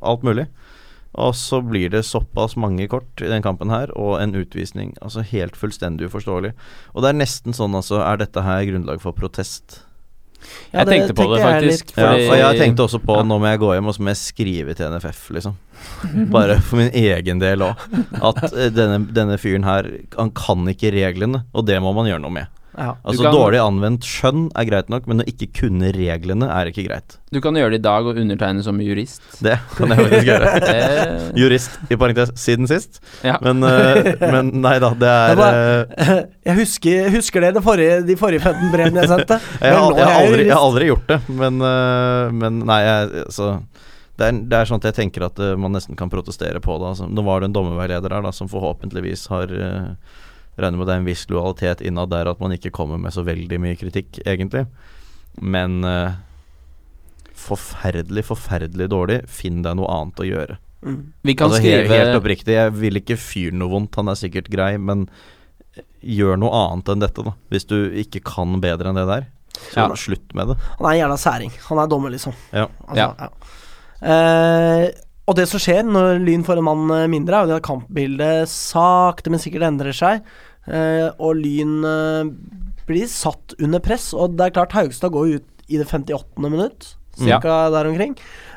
[SPEAKER 3] alt mulig. Og så blir det såpass mange kort i den kampen her, og en utvisning. Altså helt fullstendig uforståelig. Og det er nesten sånn, altså Er dette her grunnlag for protest?
[SPEAKER 1] Ja,
[SPEAKER 2] Jeg tenkte på det,
[SPEAKER 1] tenker jeg
[SPEAKER 2] faktisk.
[SPEAKER 1] litt
[SPEAKER 3] Ja,
[SPEAKER 1] på.
[SPEAKER 2] Fordi-
[SPEAKER 3] og jeg tenkte også på nå må jeg gå hjem og så må jeg skrive til NFF, liksom. Bare for min egen del òg. At eh, denne, denne fyren her, han kan ikke reglene, og det må man gjøre noe med.
[SPEAKER 1] Ja.
[SPEAKER 3] Altså
[SPEAKER 2] Du kan-
[SPEAKER 3] Dårlig anvendt skjønn er greit nok, men å ikke kunne reglene er ikke greit.
[SPEAKER 2] Du kan gjøre det i dag og undertegne som jurist.
[SPEAKER 3] Det kan jeg faktisk gjøre.
[SPEAKER 2] Det-
[SPEAKER 3] Jurist, i parentes, siden sist.
[SPEAKER 2] ja.
[SPEAKER 3] Men, eh, men nei da, det
[SPEAKER 1] Det
[SPEAKER 3] er
[SPEAKER 1] var-
[SPEAKER 3] eh,
[SPEAKER 1] Jeg husker, husker det, det forrige, de forrige 15 brevene jeg sendte.
[SPEAKER 3] jeg,
[SPEAKER 1] Men
[SPEAKER 3] har-
[SPEAKER 1] nå
[SPEAKER 3] jeg, har
[SPEAKER 1] er jeg
[SPEAKER 3] aldri, jeg har
[SPEAKER 1] jurist.
[SPEAKER 3] aldri gjort det, men, eh, men nei, jeg, altså det er, det er sånn at jeg tenker at eh, man nesten kan protestere på det. Altså. Nå var det en dommerveileder her da, som forhåpentligvis har eh, Regner med det er en viss lojalitet innad der at man ikke kommer med så veldig mye kritikk, egentlig. Men eh, forferdelig, forferdelig dårlig. Finn deg noe annet å gjøre.
[SPEAKER 1] Mm.
[SPEAKER 2] Vi kan
[SPEAKER 3] Altså, helt, helt
[SPEAKER 2] skrive
[SPEAKER 3] oppriktig, jeg vil ikke fyren noe vondt, han er sikkert grei, men eh, gjør noe annet enn dette, da. Hvis du ikke kan bedre enn det der, så
[SPEAKER 2] Ja.
[SPEAKER 3] slutt med det.
[SPEAKER 1] Han er en jævla særing. Han er dommer, liksom.
[SPEAKER 3] Ja.
[SPEAKER 2] Ja.
[SPEAKER 1] ja. Eh, og det som skjer når Lyn får en mann eh, mindre, er jo det at kampbildet sakte, men sikkert endrer seg. Eh, og Lyn eh, blir satt under press, og det er klart Haugstad går jo ut i det 58. minutt,
[SPEAKER 2] Ja.
[SPEAKER 1] cirka der omkring.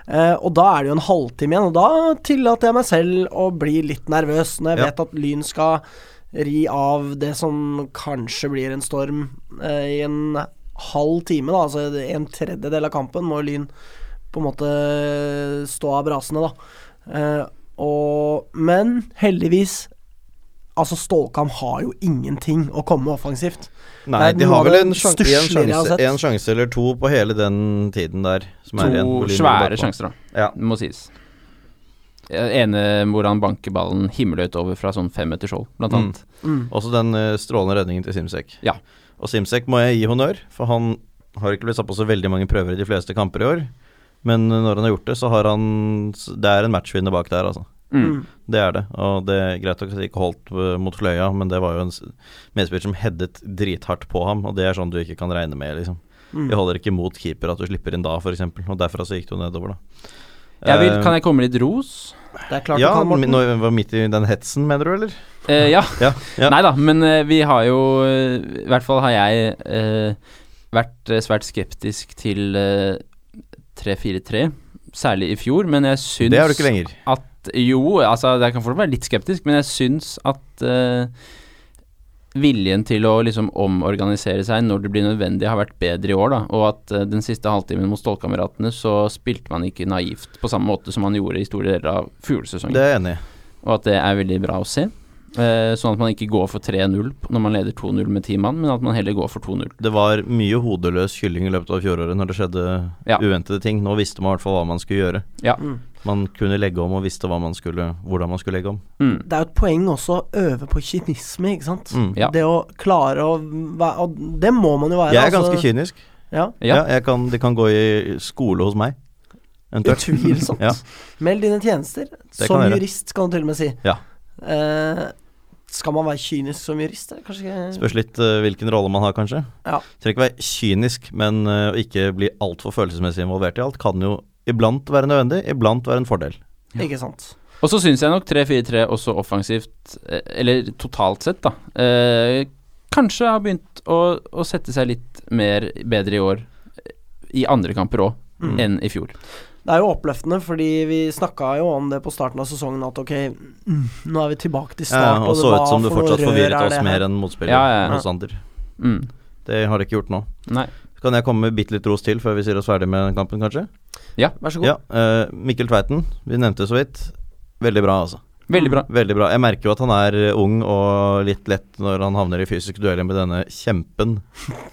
[SPEAKER 1] Eh, og da er det jo en halvtime igjen, og da tillater jeg meg selv å bli litt nervøs når jeg
[SPEAKER 3] Ja.
[SPEAKER 1] vet at Lyn skal ri av det som kanskje blir en storm eh, i en halv time, da, altså en tredjedel av kampen må Lyn på en måte stå av brasene, da. Eh, og, men heldigvis Altså, Stålkam har jo ingenting å komme med offensivt. Det er
[SPEAKER 3] Nei, de
[SPEAKER 1] noe
[SPEAKER 3] har
[SPEAKER 1] av
[SPEAKER 3] vel
[SPEAKER 1] det
[SPEAKER 3] en, sjan-
[SPEAKER 1] stusslige
[SPEAKER 3] en,
[SPEAKER 1] jeg har
[SPEAKER 3] sjanse,
[SPEAKER 1] sett.
[SPEAKER 3] en sjanse eller to på hele den tiden der. Som er igjen
[SPEAKER 2] to
[SPEAKER 3] på linjen
[SPEAKER 2] svære
[SPEAKER 3] bakpå.
[SPEAKER 2] sjanser, da.
[SPEAKER 3] Ja.
[SPEAKER 2] Det må sies. Den ene hvor han banker ballen himmelhøyt over fra sånn femmeters hold, blant
[SPEAKER 3] Mm.
[SPEAKER 2] annet.
[SPEAKER 1] Mm.
[SPEAKER 3] Også den eh, strålende redningen til Simsek.
[SPEAKER 2] Ja.
[SPEAKER 3] Og Simsek må jeg gi honnør, for han har ikke blitt satt på så veldig mange prøver i de fleste kamper i år. Men eh, når han har gjort det, så har han s- Det er en matchvinner bak der, altså.
[SPEAKER 2] Mm.
[SPEAKER 3] Det er det. Og det er greit nok at det ikke holdt eh, mot Fløya, men det var jo en s- medspiller som headet drithardt på ham, og det er sånn du ikke kan regne med, liksom.
[SPEAKER 1] Mm.
[SPEAKER 3] Det holder ikke mot keeper at du slipper inn da, f.eks. Og derfra så gikk det jo nedover, da.
[SPEAKER 2] Jeg vil,
[SPEAKER 3] Eh,
[SPEAKER 2] kan jeg komme med litt ros?
[SPEAKER 1] Det er klart
[SPEAKER 3] ja,
[SPEAKER 1] du kan,
[SPEAKER 3] mi-
[SPEAKER 1] Morten.
[SPEAKER 3] nå var midt i den hetsen, mener du, eller?
[SPEAKER 2] Eh, ja.
[SPEAKER 3] Ja, ja.
[SPEAKER 2] Nei da, men eh, vi har jo eh, I hvert fall har jeg eh, vært eh, svært skeptisk til eh, 3-4-3, særlig i fjor, men jeg syns
[SPEAKER 3] det er du ikke lenger.
[SPEAKER 2] at Jo, altså jeg kan fortsatt være litt skeptisk, men jeg syns at eh, viljen til å liksom omorganisere seg når det blir nødvendig, har vært bedre i år, da. Og at eh, den siste halvtimen mot Stålkameratene så spilte man ikke naivt på samme måte som man gjorde i store deler av
[SPEAKER 3] Det
[SPEAKER 2] fjorårssesongen.
[SPEAKER 3] er jeg enig i.
[SPEAKER 2] Og at det er veldig bra å se. Eh, sånn at man ikke går for 3-0 når man leder 2-0 med ti mann, men at man heller går for 2-0.
[SPEAKER 3] Det var mye hodeløs kylling i løpet av fjoråret når det skjedde
[SPEAKER 2] Ja.
[SPEAKER 3] uventede ting. Nå visste man i hvert fall hva man skulle gjøre.
[SPEAKER 2] Ja.
[SPEAKER 1] Mm.
[SPEAKER 3] Man kunne legge om og visste hva man skulle, hvordan man skulle legge om.
[SPEAKER 2] Mm.
[SPEAKER 1] Det er jo et poeng også å øve på kynisme, ikke sant?
[SPEAKER 3] Mm.
[SPEAKER 2] Ja.
[SPEAKER 1] Det å klare å være Og det må man jo være.
[SPEAKER 3] Jeg er
[SPEAKER 1] altså.
[SPEAKER 3] ganske kynisk.
[SPEAKER 1] Ja,
[SPEAKER 2] Ja.
[SPEAKER 3] Ja, jeg kan, Det kan gå i skole hos meg. Eventuelt.
[SPEAKER 1] Utvilsomt.
[SPEAKER 3] ja.
[SPEAKER 1] Meld dine tjenester. Som
[SPEAKER 3] kan jeg gjøre.
[SPEAKER 1] jurist, kan du til og med si.
[SPEAKER 3] Ja.
[SPEAKER 1] Eh, skal man være kynisk som jurist? eller Kanskje ikke
[SPEAKER 3] Spørs litt eh, hvilken rolle man har, kanskje.
[SPEAKER 1] Ja.
[SPEAKER 3] Trenger ikke være kynisk, men eh, å ikke bli altfor følelsesmessig involvert i alt kan jo iblant være nødvendig, iblant være en fordel.
[SPEAKER 1] Ikke sant.
[SPEAKER 2] Og så syns jeg nok 3-4-3 også offensivt, eh, eller totalt sett, da, eh, kanskje har begynt å, å sette seg litt mer bedre i år. eh, I andre kamper òg,
[SPEAKER 1] Mm.
[SPEAKER 2] enn i fjor.
[SPEAKER 1] Det er jo oppløftende, fordi vi snakka jo om det på starten av sesongen at ok, mm, nå er vi tilbake til start.
[SPEAKER 3] Ja, Eh, og så
[SPEAKER 1] det
[SPEAKER 3] ut
[SPEAKER 1] var
[SPEAKER 3] som du
[SPEAKER 1] for noe
[SPEAKER 3] fortsatt
[SPEAKER 1] rør
[SPEAKER 3] forvirret
[SPEAKER 1] er
[SPEAKER 3] oss
[SPEAKER 1] det her.
[SPEAKER 3] mer enn motspiller
[SPEAKER 2] Ja, ja, ja.
[SPEAKER 3] hos Sander.
[SPEAKER 2] Mm.
[SPEAKER 3] Det har det ikke gjort nå.
[SPEAKER 2] Nei.
[SPEAKER 3] Kan jeg komme med bitte litt ros til før vi sier oss ferdig med den kampen, kanskje?
[SPEAKER 1] Vær så god.
[SPEAKER 3] Ja, eh, Mikkel Tveiten, vi nevnte så vidt. Veldig bra, altså.
[SPEAKER 1] Mm.
[SPEAKER 2] Veldig bra.
[SPEAKER 3] Veldig bra. Jeg merker jo at han er eh, ung og litt lett når han havner i fysiske dueller med denne kjempen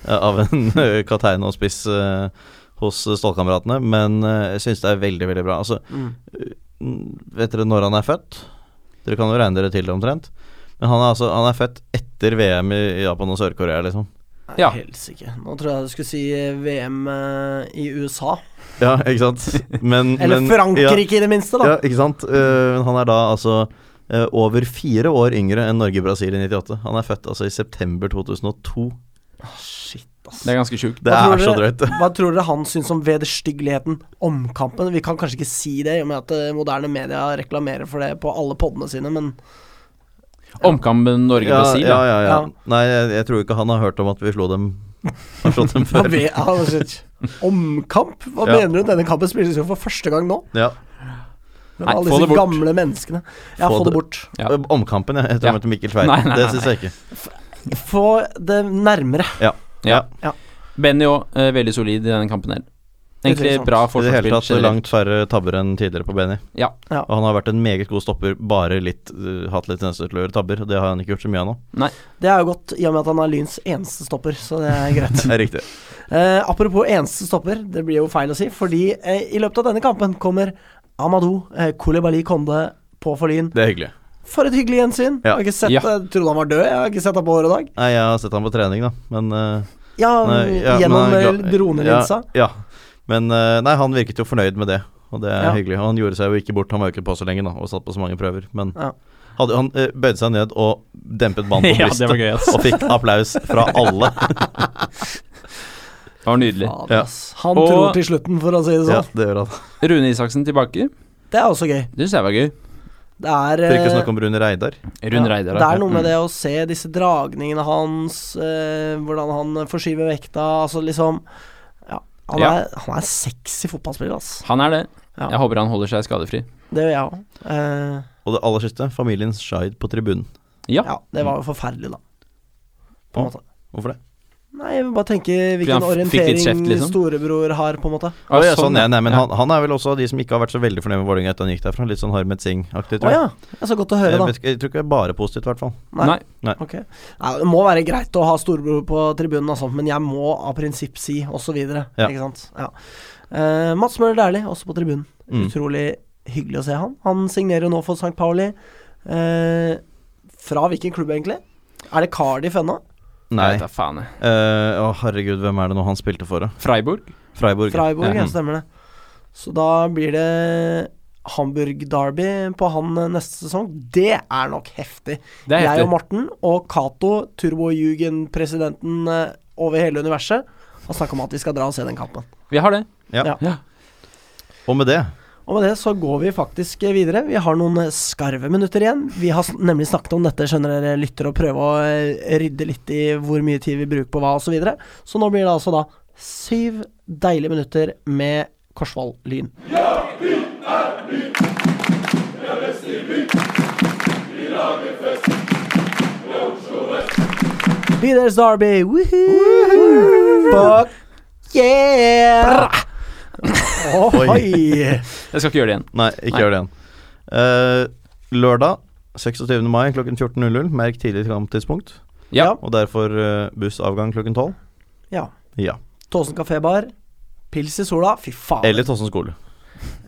[SPEAKER 3] eh, av en eh, kaptein og spiss eh, hos eh, stålkameratene, men eh, jeg syns det er veldig, veldig bra. Altså,
[SPEAKER 1] Mm.
[SPEAKER 3] mm, vet dere når han er født? Dere kan jo regne dere til det omtrent. Men han er, altså, han er født etter VM i i Japan og Sør-Korea, liksom.
[SPEAKER 1] Nei,
[SPEAKER 2] Ja.
[SPEAKER 1] Helsike. Nå tror jeg du skulle si eh, VM eh, i USA.
[SPEAKER 3] Ja, ikke sant? Men,
[SPEAKER 1] Eller
[SPEAKER 3] men-
[SPEAKER 1] Frankrike, i det minste, da.
[SPEAKER 3] Ja, ja, ikke sant? Eh, han er da altså eh, over fire år yngre enn Norge-Brasil i 98. Han er født altså i september 2002.
[SPEAKER 1] Shit, ass.
[SPEAKER 2] Det er ganske sjukt.
[SPEAKER 3] Det
[SPEAKER 1] Hva tror
[SPEAKER 3] er så
[SPEAKER 1] dere?
[SPEAKER 3] drøyt.
[SPEAKER 1] Hva tror dere han syns om vederstyggeligheten omkampen? Vi kan kanskje ikke si det, i og med at eh, moderne media reklamerer for det på alle podene sine, men
[SPEAKER 2] Omkampen Norge-Brasil,
[SPEAKER 3] ja,
[SPEAKER 2] ja,
[SPEAKER 3] ja, ja.
[SPEAKER 1] Ja.
[SPEAKER 3] Nei, jeg, jeg tror ikke han har hørt om at vi slo dem, har slått dem
[SPEAKER 1] hva
[SPEAKER 3] før.
[SPEAKER 1] vet- ja, altså, shit. Omkamp? Hva
[SPEAKER 3] Ja.
[SPEAKER 1] mener du? Denne kampen spilles jo for første gang nå.
[SPEAKER 3] Ja.
[SPEAKER 1] Med
[SPEAKER 2] Nei,
[SPEAKER 1] alle
[SPEAKER 2] få
[SPEAKER 1] disse
[SPEAKER 2] det bort.
[SPEAKER 1] gamle menneskene. Ja, få
[SPEAKER 3] Få
[SPEAKER 1] det
[SPEAKER 3] det-
[SPEAKER 1] bort.
[SPEAKER 2] Ja.
[SPEAKER 3] Eh, Omkampen, ja. Jeg tror
[SPEAKER 2] Ja.
[SPEAKER 3] han heter Mikkel
[SPEAKER 2] Nei,
[SPEAKER 3] Tveit.
[SPEAKER 2] nei,
[SPEAKER 3] Det
[SPEAKER 2] nei.
[SPEAKER 3] syns jeg ikke.
[SPEAKER 1] Få det nærmere.
[SPEAKER 2] ja.
[SPEAKER 1] Ja.
[SPEAKER 2] Benny òg, eh, veldig solid i denne kampen her. Egentlig
[SPEAKER 1] Utvilsomt.
[SPEAKER 2] bra
[SPEAKER 3] I det hele
[SPEAKER 2] forsvarsspill
[SPEAKER 3] tatt
[SPEAKER 2] generelt.
[SPEAKER 3] langt færre tabber enn tidligere på Benny.
[SPEAKER 2] Ja.
[SPEAKER 1] Ja.
[SPEAKER 3] Og han har vært en meget god stopper, bare litt, eh, hatt litt tendens til å gjøre tabber. og Det har han ikke gjort så mye av nå.
[SPEAKER 1] Det er jo godt, i og med at han er Lyns eneste stopper, så det er greit.
[SPEAKER 3] Det er riktig.
[SPEAKER 1] Eh, apropos eneste stopper, det blir jo feil å si, fordi eh, i løpet av denne kampen kommer Amadou eh, Kolibali Konde på for Lyn.
[SPEAKER 3] Det er hyggelig.
[SPEAKER 1] For et hyggelig gjensyn. Jeg
[SPEAKER 3] Ja.
[SPEAKER 1] har ikke sett
[SPEAKER 2] Ja.
[SPEAKER 1] jeg trodde han var død. Jeg har ikke sett ham på år og dag.
[SPEAKER 3] Nei, jeg har sett han på trening, da, men eh,
[SPEAKER 1] Ja,
[SPEAKER 3] Nei, ja,
[SPEAKER 1] gjennom
[SPEAKER 3] men
[SPEAKER 1] eh,
[SPEAKER 3] han er glad-
[SPEAKER 1] dronelinsa.
[SPEAKER 3] Ja, ja. Men eh, nei, han virket jo fornøyd med det, og det er
[SPEAKER 1] Ja.
[SPEAKER 3] hyggelig. Og han gjorde seg jo ikke bort, han var jo ikke på så lenge da, og satt på så mange prøver. Men
[SPEAKER 1] Ja.
[SPEAKER 3] hadde, han eh, bøyde seg ned og dempet banen på
[SPEAKER 2] Ja, det
[SPEAKER 3] brystet,
[SPEAKER 2] var gøy, ass.
[SPEAKER 3] og fikk applaus fra alle.
[SPEAKER 2] Det var nydelig.
[SPEAKER 1] Fader,
[SPEAKER 3] Ja.
[SPEAKER 1] ass. Han
[SPEAKER 2] Og-
[SPEAKER 1] tror til slutten, for å si det
[SPEAKER 3] ja,
[SPEAKER 1] sånn.
[SPEAKER 3] det gjør han.
[SPEAKER 2] Rune Isaksen tilbake.
[SPEAKER 1] Det er også gøy.
[SPEAKER 2] Det syns jeg var gøy.
[SPEAKER 1] Det er,
[SPEAKER 3] Trenger ikke
[SPEAKER 1] eh,
[SPEAKER 3] snakke om Mm. Rune Reidar.
[SPEAKER 2] Rune
[SPEAKER 1] ja,
[SPEAKER 2] Reidar. Mm.
[SPEAKER 1] det er noe med det å se disse dragningene hans, eh, hvordan han forskyver vekta, altså liksom Ja. Han,
[SPEAKER 2] Ja.
[SPEAKER 1] Er, han er sexy fotballspiller, ass.
[SPEAKER 2] Han er det.
[SPEAKER 1] Ja.
[SPEAKER 2] Jeg håper han holder seg skadefri.
[SPEAKER 1] Det gjør jeg òg. Eh,
[SPEAKER 3] Og det aller siste, familien Shaid på tribunen.
[SPEAKER 2] Ja.
[SPEAKER 1] ja, det var jo forferdelig, da. På en
[SPEAKER 3] Å.
[SPEAKER 1] måte.
[SPEAKER 3] Hvorfor det?
[SPEAKER 1] Nei, jeg vil bare tenke
[SPEAKER 2] Fordi
[SPEAKER 1] hvilken
[SPEAKER 2] han f- fikk litt
[SPEAKER 1] orientering
[SPEAKER 2] kjeft, liksom?
[SPEAKER 1] storebror har, på en måte.
[SPEAKER 2] Ah,
[SPEAKER 3] Å, ja, sånn, ja.
[SPEAKER 2] ja.
[SPEAKER 3] Nei, men
[SPEAKER 2] Ja.
[SPEAKER 3] han, han er vel også av de som ikke har vært så veldig fornøyd med Vålerenga etter han gikk derfra. Litt sånn Harmet
[SPEAKER 1] Å
[SPEAKER 3] Singh-aktig, tror jeg.
[SPEAKER 1] ja. Det er så godt å høre,
[SPEAKER 3] jeg,
[SPEAKER 1] da.
[SPEAKER 3] vet, ikke- jeg tror ikke det er bare positivt, i hvert fall.
[SPEAKER 1] Nei.
[SPEAKER 2] Nei.
[SPEAKER 1] Ok. Nei, det må være greit å ha storebror på tribunen, og sånt, men jeg må av prinsipp si osv. videre
[SPEAKER 3] Ja.
[SPEAKER 1] Ikke sant? Ja. Eh, Mats Møller Dæhlie, også på tribunen.
[SPEAKER 3] Mm.
[SPEAKER 1] Utrolig hyggelig å se han. Han signerer nå for St. Pauli. Eh, fra hvilken klubb, egentlig? Er det Cardiff ennå?
[SPEAKER 3] Nei.
[SPEAKER 2] Jeg vet da faen, jeg.
[SPEAKER 3] Eh, å, herregud, hvem er det nå han spilte for, da?
[SPEAKER 2] Freiburg.
[SPEAKER 3] Freiburg.
[SPEAKER 1] Freiburg, ja,
[SPEAKER 3] Ja.
[SPEAKER 1] stemmer det. Så da blir det Hamburg-derby på han eh, neste sesong. Det er nok heftig.
[SPEAKER 2] Det er
[SPEAKER 1] Jeg og
[SPEAKER 2] heftig.
[SPEAKER 1] Morten og Cato, turbojugen-presidenten eh, over hele universet, har snakka om at vi skal dra og se den kampen.
[SPEAKER 2] Vi har det.
[SPEAKER 1] Ja.
[SPEAKER 2] Ja.
[SPEAKER 3] Og med det
[SPEAKER 1] Og med det så går vi faktisk eh, videre. Vi har noen eh, skarve minutter igjen. Vi har sn- nemlig snakket om dette, skjønner dere lytter, og prøve å eh, rydde litt i hvor mye tid vi bruker på hva osv. Så, videre. så nå blir det altså da syv deilige minutter med Korsvoll Lyn. Bydelens Derby! Woohoo! Fuck yeah! Oi!
[SPEAKER 2] Jeg skal ikke gjøre det igjen.
[SPEAKER 3] Nei, ikke
[SPEAKER 2] Nei.
[SPEAKER 3] gjør det igjen. Eh, lørdag 26. mai klokken 14.00. Merk tidlig kamptidspunkt.
[SPEAKER 2] Ja.
[SPEAKER 3] Og derfor eh, bussavgang klokken 12.
[SPEAKER 1] Ja.
[SPEAKER 3] Ja.
[SPEAKER 1] Tåsen kafébar. Pils i sola. Fy faen.
[SPEAKER 3] Eller Tossen skole.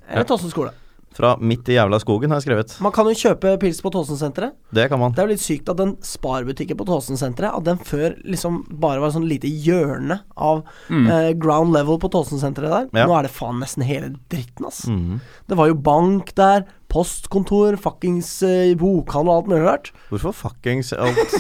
[SPEAKER 1] Eller Tåsen skole.
[SPEAKER 3] Fra midt i jævla skogen, har jeg skrevet.
[SPEAKER 1] Man kan jo kjøpe pils på Tåsensenteret.
[SPEAKER 3] Det kan man.
[SPEAKER 1] Det er jo litt sykt at den sparbutikken på Tåsensenteret At den før liksom bare var et sånn lite hjørne av eh, ground level på Tåsensenteret der.
[SPEAKER 3] Ja.
[SPEAKER 1] Nå er det faen nesten hele dritten, ass.
[SPEAKER 3] Mhm.
[SPEAKER 1] Det var jo bank der, postkontor, fuckings eh, bokhandel og alt mulig rart.
[SPEAKER 3] Hvorfor fuckings alt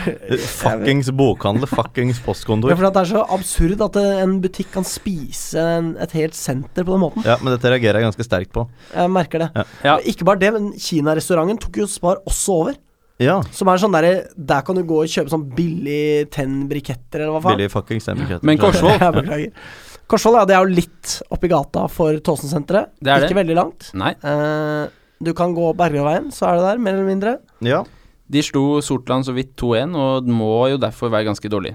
[SPEAKER 3] Fuckings bokhandel, fuckings
[SPEAKER 1] Det
[SPEAKER 3] postkontor.
[SPEAKER 1] er fordi at det er så absurd at eh, en butikk kan spise en, et helt senter på den måten.
[SPEAKER 3] Ja, men dette reagerer jeg ganske sterkt på.
[SPEAKER 1] Jeg merker det.
[SPEAKER 2] Ja.
[SPEAKER 1] Og Ikke bare det, men Kina-restauranten tok jo Spar også over.
[SPEAKER 3] Ja.
[SPEAKER 1] Som er sånn derre Der kan du gå og kjøpe sånn billig tennbriketter, eller hva faen.
[SPEAKER 3] Billig fuckings stemmekrett.
[SPEAKER 2] Men Korsvoll
[SPEAKER 1] Jeg beklager. Korsvoll, ja, det er jo litt oppi gata for Tåsensenteret.
[SPEAKER 2] Det er
[SPEAKER 1] Ikke veldig langt.
[SPEAKER 2] Nei.
[SPEAKER 1] Eh, du kan gå Bergerveien, så er det der, mer eller mindre.
[SPEAKER 3] Ja.
[SPEAKER 2] De slo Sortland så vidt 2-1, og den må jo derfor være ganske dårlig.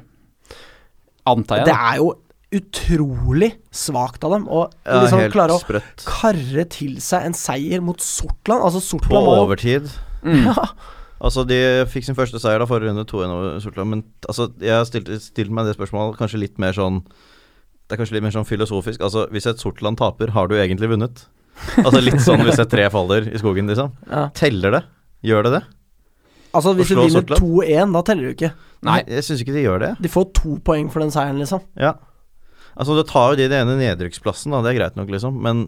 [SPEAKER 2] Antar jeg.
[SPEAKER 1] Det
[SPEAKER 2] da.
[SPEAKER 1] er jo utrolig svakt av dem å
[SPEAKER 3] Ja,
[SPEAKER 1] liksom
[SPEAKER 3] helt
[SPEAKER 1] klare å
[SPEAKER 3] sprøtt.
[SPEAKER 1] karre til seg en seier mot Sortland. Altså,
[SPEAKER 3] På
[SPEAKER 1] Sortland var jo
[SPEAKER 3] overtid. Altså, de fikk sin første seier da forrige runde, 2-1 over Sortland. Men altså, jeg stilte, stilte meg det spørsmålet kanskje litt mer sånn Det er kanskje litt mer sånn filosofisk. Altså, hvis et Sortland taper, har du egentlig vunnet? Altså litt sånn hvis et tre faller i skogen, liksom.
[SPEAKER 1] Ja.
[SPEAKER 3] Teller det? Gjør det det?
[SPEAKER 1] Altså, hvis du
[SPEAKER 3] Å slå
[SPEAKER 1] vinner
[SPEAKER 3] Sortland?
[SPEAKER 1] 2-1, da teller du ikke.
[SPEAKER 2] Nei.
[SPEAKER 3] Jeg syns ikke de gjør det.
[SPEAKER 1] De får to poeng for den seieren, liksom.
[SPEAKER 3] Ja. Altså, det tar jo de den ene nedrykksplassen, da. Det er greit nok, liksom. Men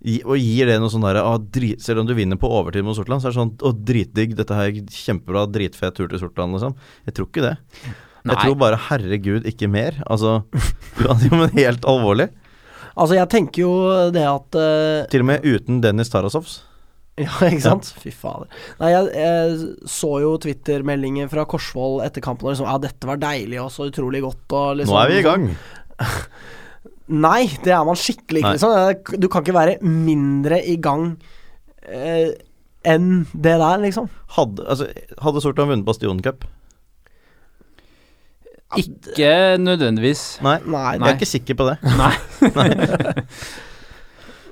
[SPEAKER 3] gi- og gir det noe sånn derre ah, drit- Selv om du vinner på overtid mot Sortland, så er det sånn Å, dritdigg, dette her er kjempebra, dritfet tur til Sortland, liksom. Jeg tror ikke det. Jeg
[SPEAKER 2] Nei.
[SPEAKER 3] tror bare herregud, ikke mer. Altså uansett, Men helt alvorlig.
[SPEAKER 1] Altså, jeg tenker jo det at eh,
[SPEAKER 3] Til og med uten Dennis Tarasovs.
[SPEAKER 1] Ja, ikke sant? Fy fader. Nei, jeg, jeg så jo Twitter-meldinger fra Korsvoll etter kampen og liksom Ja, dette var deilig og så utrolig godt og liksom
[SPEAKER 3] Nå er sånn vi i gang.
[SPEAKER 1] Nei, det er man skikkelig ikke,
[SPEAKER 3] Nei.
[SPEAKER 1] liksom. Du kan ikke være mindre i gang eh, enn det der, liksom.
[SPEAKER 3] Hadde, altså, hadde Sortland vunnet Bastionen Cup?
[SPEAKER 2] Ikke nødvendigvis.
[SPEAKER 3] Nei.
[SPEAKER 1] Nei,
[SPEAKER 3] Jeg er ikke sikker på det.
[SPEAKER 2] Nei.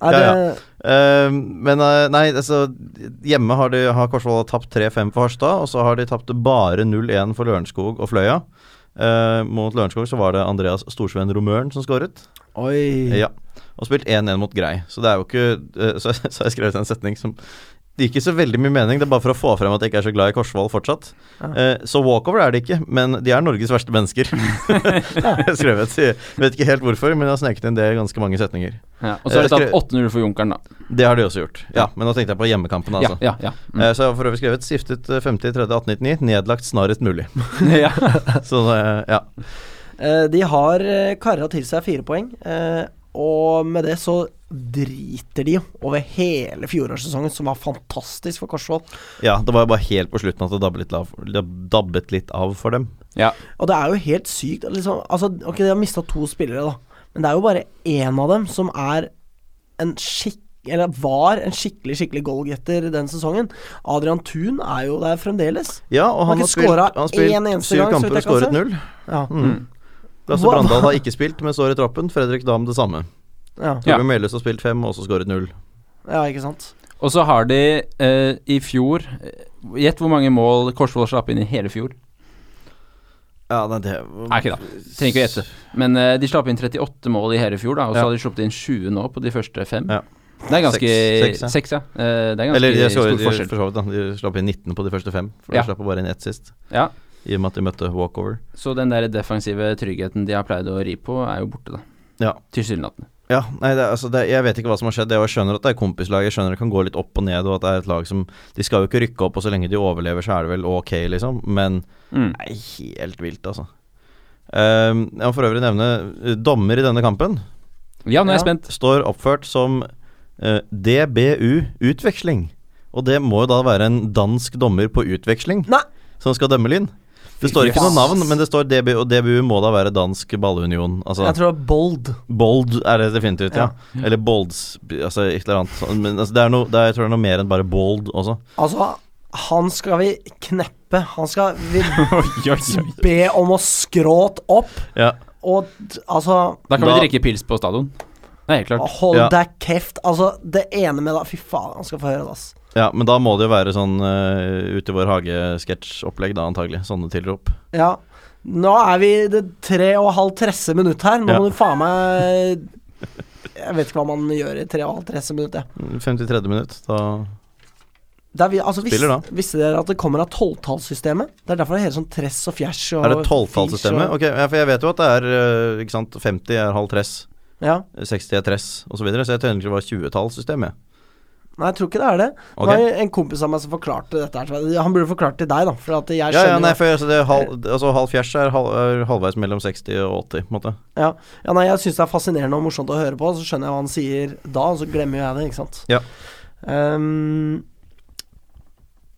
[SPEAKER 1] Er det,
[SPEAKER 3] Ja, Eh, men eh, nei, altså Hjemme har, de- har Korsvoll tapt 3-5 for Harstad, og så har de tapt bare 0-1 for Lørenskog og Fløya. Eh, mot Lørenskog så var det Andreas Storsveen Romøren som skåret.
[SPEAKER 1] Oi.
[SPEAKER 3] Ja. Og spilt 1-1 mot Grei. Så det er jo ikke eh, så, så har jeg skrevet en setning som det gir ikke så veldig mye mening, det er bare for å få frem at jeg ikke er så glad i Korsvoll fortsatt. Eh, så walkover er det ikke, men de er Norges verste mennesker. Jeg har skrevet. Jeg vet ikke helt hvorfor, men jeg har sneket inn det i ganske mange setninger.
[SPEAKER 2] Ja. Og så har de
[SPEAKER 3] Jeg
[SPEAKER 2] tatt 8-0 for Junkeren, da.
[SPEAKER 3] Det har de også gjort. Ja, Men nå tenkte jeg på hjemmekampen, altså.
[SPEAKER 2] Ja, ja, ja. Mm.
[SPEAKER 3] Eh, Så jeg har for øvrig skrevet 'stiftet eh, 50.3.1899, nedlagt snarest mulig'.
[SPEAKER 2] ja.
[SPEAKER 3] Så eh, ja.
[SPEAKER 1] Eh, de har eh, kara til seg fire poeng, eh, og med det så driter de jo over hele fjorårssesongen, som var fantastisk for Korsvoll.
[SPEAKER 3] ja. Det var jo bare helt på slutten at det dabbet litt av, det dabbet litt av for dem.
[SPEAKER 2] ja.
[SPEAKER 1] Og det er jo helt sykt. at Liksom, altså, ok, de har mista to spillere, da. Men det er jo bare én av dem som er en skikk... Eller var en skikkelig skikkelig goalgetter den sesongen. Adrian Thun er jo der fremdeles.
[SPEAKER 3] Ja, og
[SPEAKER 1] Han har ikke
[SPEAKER 3] han har spilt,
[SPEAKER 1] skåret
[SPEAKER 3] han har spilt
[SPEAKER 1] én eneste
[SPEAKER 3] syv
[SPEAKER 1] gang, så vidt jeg
[SPEAKER 3] kamper og
[SPEAKER 1] kan se.
[SPEAKER 3] skåret null.
[SPEAKER 1] Ja.
[SPEAKER 3] Lasse
[SPEAKER 1] Wow.
[SPEAKER 3] Brandal har ikke spilt, men står i trappen. Fredrik Dam det samme.
[SPEAKER 1] Ja,
[SPEAKER 2] Ja.
[SPEAKER 3] Torbjørn Melhus har spilt fem, og også skåret null.
[SPEAKER 1] ja ikke sant?
[SPEAKER 2] Og så har de eh, i fjor eh, Gjett hvor mange mål Korsvoll slapp inn i hele fjor.
[SPEAKER 3] Ja, nei, det
[SPEAKER 2] Nei, ikke da. Trenger ikke å gjette. Men eh, de slapp inn 38 mål i hele fjor, da. Og så
[SPEAKER 3] Ja.
[SPEAKER 2] har de sluppet inn 20 nå på de første fem.
[SPEAKER 3] Ja.
[SPEAKER 2] Det er ganske
[SPEAKER 3] Seks- seks, ja.
[SPEAKER 2] Seks, ja. Eh, det er ganske
[SPEAKER 3] Eller de, så,
[SPEAKER 2] stor
[SPEAKER 3] de,
[SPEAKER 2] forskjell.
[SPEAKER 3] for så vidt, da. de slapp inn 19 på de første fem, for
[SPEAKER 2] Ja.
[SPEAKER 3] de slapp jo bare inn ett sist.
[SPEAKER 2] Ja.
[SPEAKER 3] I og med at de møtte walkover.
[SPEAKER 2] Så den der defensive tryggheten de har pleid å ri på, er jo borte, da.
[SPEAKER 3] Ja.
[SPEAKER 2] Tilsynelatende.
[SPEAKER 3] Ja, nei, det, er- altså det, Jeg vet ikke hva som har skjedd. Jeg skjønner at det er kompislag, jeg skjønner at det kan gå litt opp og ned, og at det er et lag som De skal jo ikke rykke opp, og så lenge de overlever, så er det vel ok, liksom. Men
[SPEAKER 2] Mm.
[SPEAKER 3] det er helt vilt, altså. Ehm, jeg må for øvrig nevne eh, dommer i denne kampen.
[SPEAKER 2] Ja, nå er jeg
[SPEAKER 1] Ja.
[SPEAKER 2] spent.
[SPEAKER 3] Står oppført som eh, DBU-utveksling. Og det må jo da være en dansk dommer på utveksling
[SPEAKER 1] Nei!
[SPEAKER 3] som skal dømme Lyn. Det står ikke noe navn, men det står DBU, og DBU må da være dansk ballunion. Altså.
[SPEAKER 1] Jeg tror det er Bold.
[SPEAKER 3] Bold er det definitivt, ja. Eller bolds Altså et eller annet. sånn, Men altså, det er noe, det er, jeg tror det er noe mer enn bare bold også.
[SPEAKER 1] Altså, han skal vi kneppe. Han skal vi be om å skråt opp.
[SPEAKER 3] Ja.
[SPEAKER 1] Og d- altså
[SPEAKER 2] Da kan
[SPEAKER 3] Da-
[SPEAKER 2] vi drikke pils på stadion. Det er helt klart.
[SPEAKER 1] Hold
[SPEAKER 3] Ja.
[SPEAKER 1] deg kjeft. Altså, det ene med det Fy faen, han skal få høre det, ass.
[SPEAKER 3] Ja, men da må det jo være sånn eh, ute i vår hage-sketsj-opplegg, da antagelig. Sånne tilrop.
[SPEAKER 1] Ja. Nå er vi i det tre og halv tresse minutt her. Nå
[SPEAKER 3] Ja.
[SPEAKER 1] må du faen meg Jeg vet ikke hva man gjør i tre og halv tresse minutt, jeg.
[SPEAKER 3] 53. minutt, da
[SPEAKER 1] Det er vi, altså, vis,
[SPEAKER 3] Spiller da.
[SPEAKER 1] Visste dere at det kommer av tolvtallssystemet? Det er derfor det er helt sånn tress og fjers og
[SPEAKER 3] Er det tolvtallssystemet?
[SPEAKER 1] firs og-
[SPEAKER 3] Ok, ja, for jeg vet jo at det er eh, ikke sant, 50 er halv tress,
[SPEAKER 1] Ja.
[SPEAKER 3] 60 er tress osv., så, videre, så jeg tenkte det var 20-tallssystemet.
[SPEAKER 1] Nei, jeg tror ikke det er det.
[SPEAKER 3] Ok.
[SPEAKER 1] Det var en kompis av meg som forklarte dette her. til meg. Han burde forklart til deg, da. For at jeg
[SPEAKER 3] Ja,
[SPEAKER 1] skjønner
[SPEAKER 3] ja,
[SPEAKER 1] jo-
[SPEAKER 3] nei, for altså, det er halv, altså, halv fjers er, halv, er halvveis mellom 60 og 80, på en måte.
[SPEAKER 1] Ja. ja, nei, jeg syns det er fascinerende og morsomt å høre på, så skjønner jeg hva han sier da, og så glemmer jo jeg det, ikke sant.
[SPEAKER 3] Ja.
[SPEAKER 1] Ehm,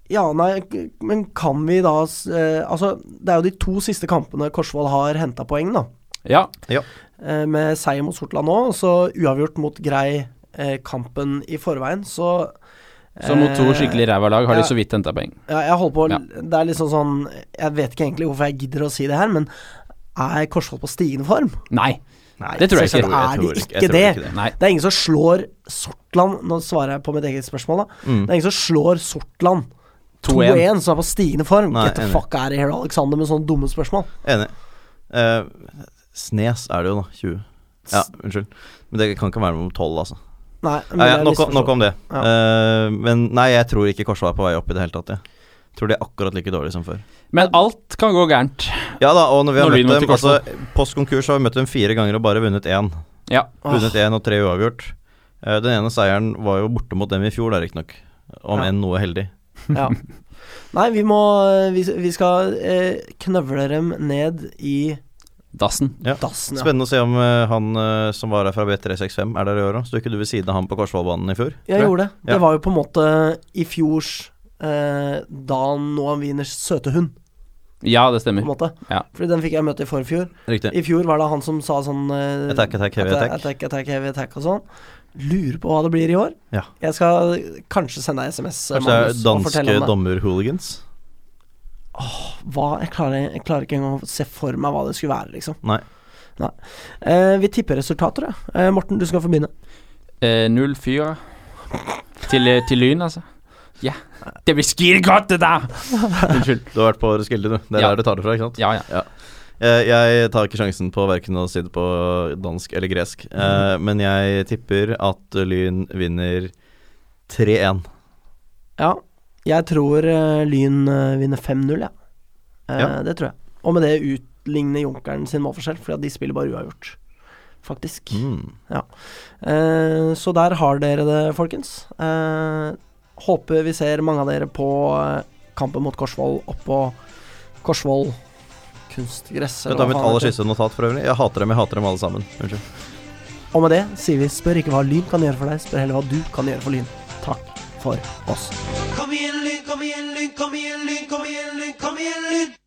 [SPEAKER 1] ja, nei, k- men kan vi da s- eh, Altså, det er jo de to siste kampene Korsvoll har henta poeng, da.
[SPEAKER 2] Ja,
[SPEAKER 1] Eh, med seier mot Sortland nå, og så uavgjort mot Grei eh, kampen i forveien, så
[SPEAKER 2] så mot to
[SPEAKER 1] eh,
[SPEAKER 2] skikkelig ræva lag har
[SPEAKER 1] ja.
[SPEAKER 2] de så vidt henta poeng.
[SPEAKER 1] Ja, jeg holder på å-
[SPEAKER 2] Ja.
[SPEAKER 1] Det er liksom sånn Jeg vet ikke egentlig hvorfor jeg gidder å si det her, men er Korsvoll på stigende form?
[SPEAKER 2] Nei, det tror jeg
[SPEAKER 1] selvsagt
[SPEAKER 2] ikke.
[SPEAKER 1] er det
[SPEAKER 3] jeg
[SPEAKER 1] ikke det.
[SPEAKER 2] Nei.
[SPEAKER 1] Det er ingen som slår Sortland Nå svarer jeg på mitt eget spørsmål, da. Det er ingen som slår Sortland
[SPEAKER 2] 2-1.
[SPEAKER 1] 2-1, som er på stigende form.
[SPEAKER 3] Nei,
[SPEAKER 1] Get the
[SPEAKER 3] enig.
[SPEAKER 1] fuck out of here, Alexander, med sånne dumme spørsmål.
[SPEAKER 3] Enig. Eh, snes er det jo, da. 20. Ja, unnskyld. Men det kan ikke være mellom 12, altså.
[SPEAKER 1] Nei, men
[SPEAKER 3] Nei,
[SPEAKER 1] det
[SPEAKER 3] ja,
[SPEAKER 1] er
[SPEAKER 3] nok, om-
[SPEAKER 1] misforstått.
[SPEAKER 3] nok om det.
[SPEAKER 1] Ja.
[SPEAKER 3] Eh, men nei, jeg tror ikke Korsvoll er på vei opp i det hele tatt. Jeg tror de er akkurat like dårlige som før.
[SPEAKER 2] Men alt kan gå gærent.
[SPEAKER 3] Ja da, og når vi har
[SPEAKER 2] Når Lyn møter
[SPEAKER 3] møtt dem altså, Post konkurs har vi møtt dem fire ganger og bare vunnet én.
[SPEAKER 2] Ja.
[SPEAKER 1] Åh.
[SPEAKER 3] Vunnet én og tre uavgjort. Eh, den ene seieren var jo borte mot dem i fjor, da, riktignok. Om
[SPEAKER 1] Ja.
[SPEAKER 3] enn noe heldig.
[SPEAKER 1] Ja. Nei, vi må Vi, vi skal eh, knøvle dem ned i
[SPEAKER 2] Dassen.
[SPEAKER 1] dassen, ja.
[SPEAKER 3] Spennende å se om eh, han eh, som var der fra B365, er der i år òg. Sto ikke du ved siden av han på Korsvollbanen i fjor?
[SPEAKER 1] Jeg gjorde det.
[SPEAKER 3] Ja.
[SPEAKER 1] Det var jo på en måte i fjors eh, Dan Noam Wieners søte hund,
[SPEAKER 2] Ja, det
[SPEAKER 1] på en
[SPEAKER 2] stemmer.
[SPEAKER 1] måte.
[SPEAKER 2] Ja.
[SPEAKER 1] Fordi den fikk jeg møte i forfjor.
[SPEAKER 3] Riktig.
[SPEAKER 1] I fjor var det han som sa sånn eh,
[SPEAKER 3] Attack, attack, heavy
[SPEAKER 1] atta-
[SPEAKER 3] attack.
[SPEAKER 1] attack, attack, heavy attack og sånn. Lurer på hva det blir i år.
[SPEAKER 3] Ja.
[SPEAKER 1] Jeg skal kanskje sende deg SMS,
[SPEAKER 3] Kanskje det er
[SPEAKER 1] eh, Magnus, og
[SPEAKER 3] danske
[SPEAKER 1] fortelle om det.
[SPEAKER 3] dommerhooligans?
[SPEAKER 1] Hva? Jeg klarer, jeg klarer ikke engang å se for meg hva det skulle være, liksom.
[SPEAKER 3] Nei.
[SPEAKER 1] Nei. Eh, vi tipper resultater, ja. Eh, Morten, du skal få begynne.
[SPEAKER 2] Eh, 0-4 til, til Lyn, altså. Ja. Det blir skirgodt, det der! Unnskyld.
[SPEAKER 3] Du har vært på Roskilde, du. Det er
[SPEAKER 2] Ja.
[SPEAKER 3] der du tar det fra, ikke sant?
[SPEAKER 2] Ja, ja.
[SPEAKER 3] Eh, Jeg tar ikke sjansen på verken å si det på dansk eller gresk, eh,
[SPEAKER 2] Mm.
[SPEAKER 3] men jeg tipper at Lyn vinner 3-1.
[SPEAKER 1] Ja. Jeg tror eh, Lyn eh, vinner 5-0, jeg. Eh,
[SPEAKER 3] Ja.
[SPEAKER 1] Det tror jeg. Og med det utligner Junkeren sin målforskjell, fordi at de spiller bare uavgjort, faktisk.
[SPEAKER 3] Mm.
[SPEAKER 1] Eh, så der har dere det, folkens. Eh, håper vi ser mange av dere på eh, kampen mot Korsvoll oppå Korsvoll kunstgress.
[SPEAKER 3] Dette er
[SPEAKER 1] hva
[SPEAKER 3] mitt
[SPEAKER 1] faen
[SPEAKER 3] aller
[SPEAKER 1] det heter.
[SPEAKER 3] siste notat for øvrig. Jeg hater dem, jeg hater dem alle sammen. Unnskyld.
[SPEAKER 1] Og med det sier vi spør ikke hva Lyn kan gjøre for deg, spør heller hva du kan gjøre for Lyn. Takk for oss.
[SPEAKER 6] Kom igjen, lyn, kom igjen, lyn, kom igjen, lyn, kom igjen, lyn, kom igjen, lyn.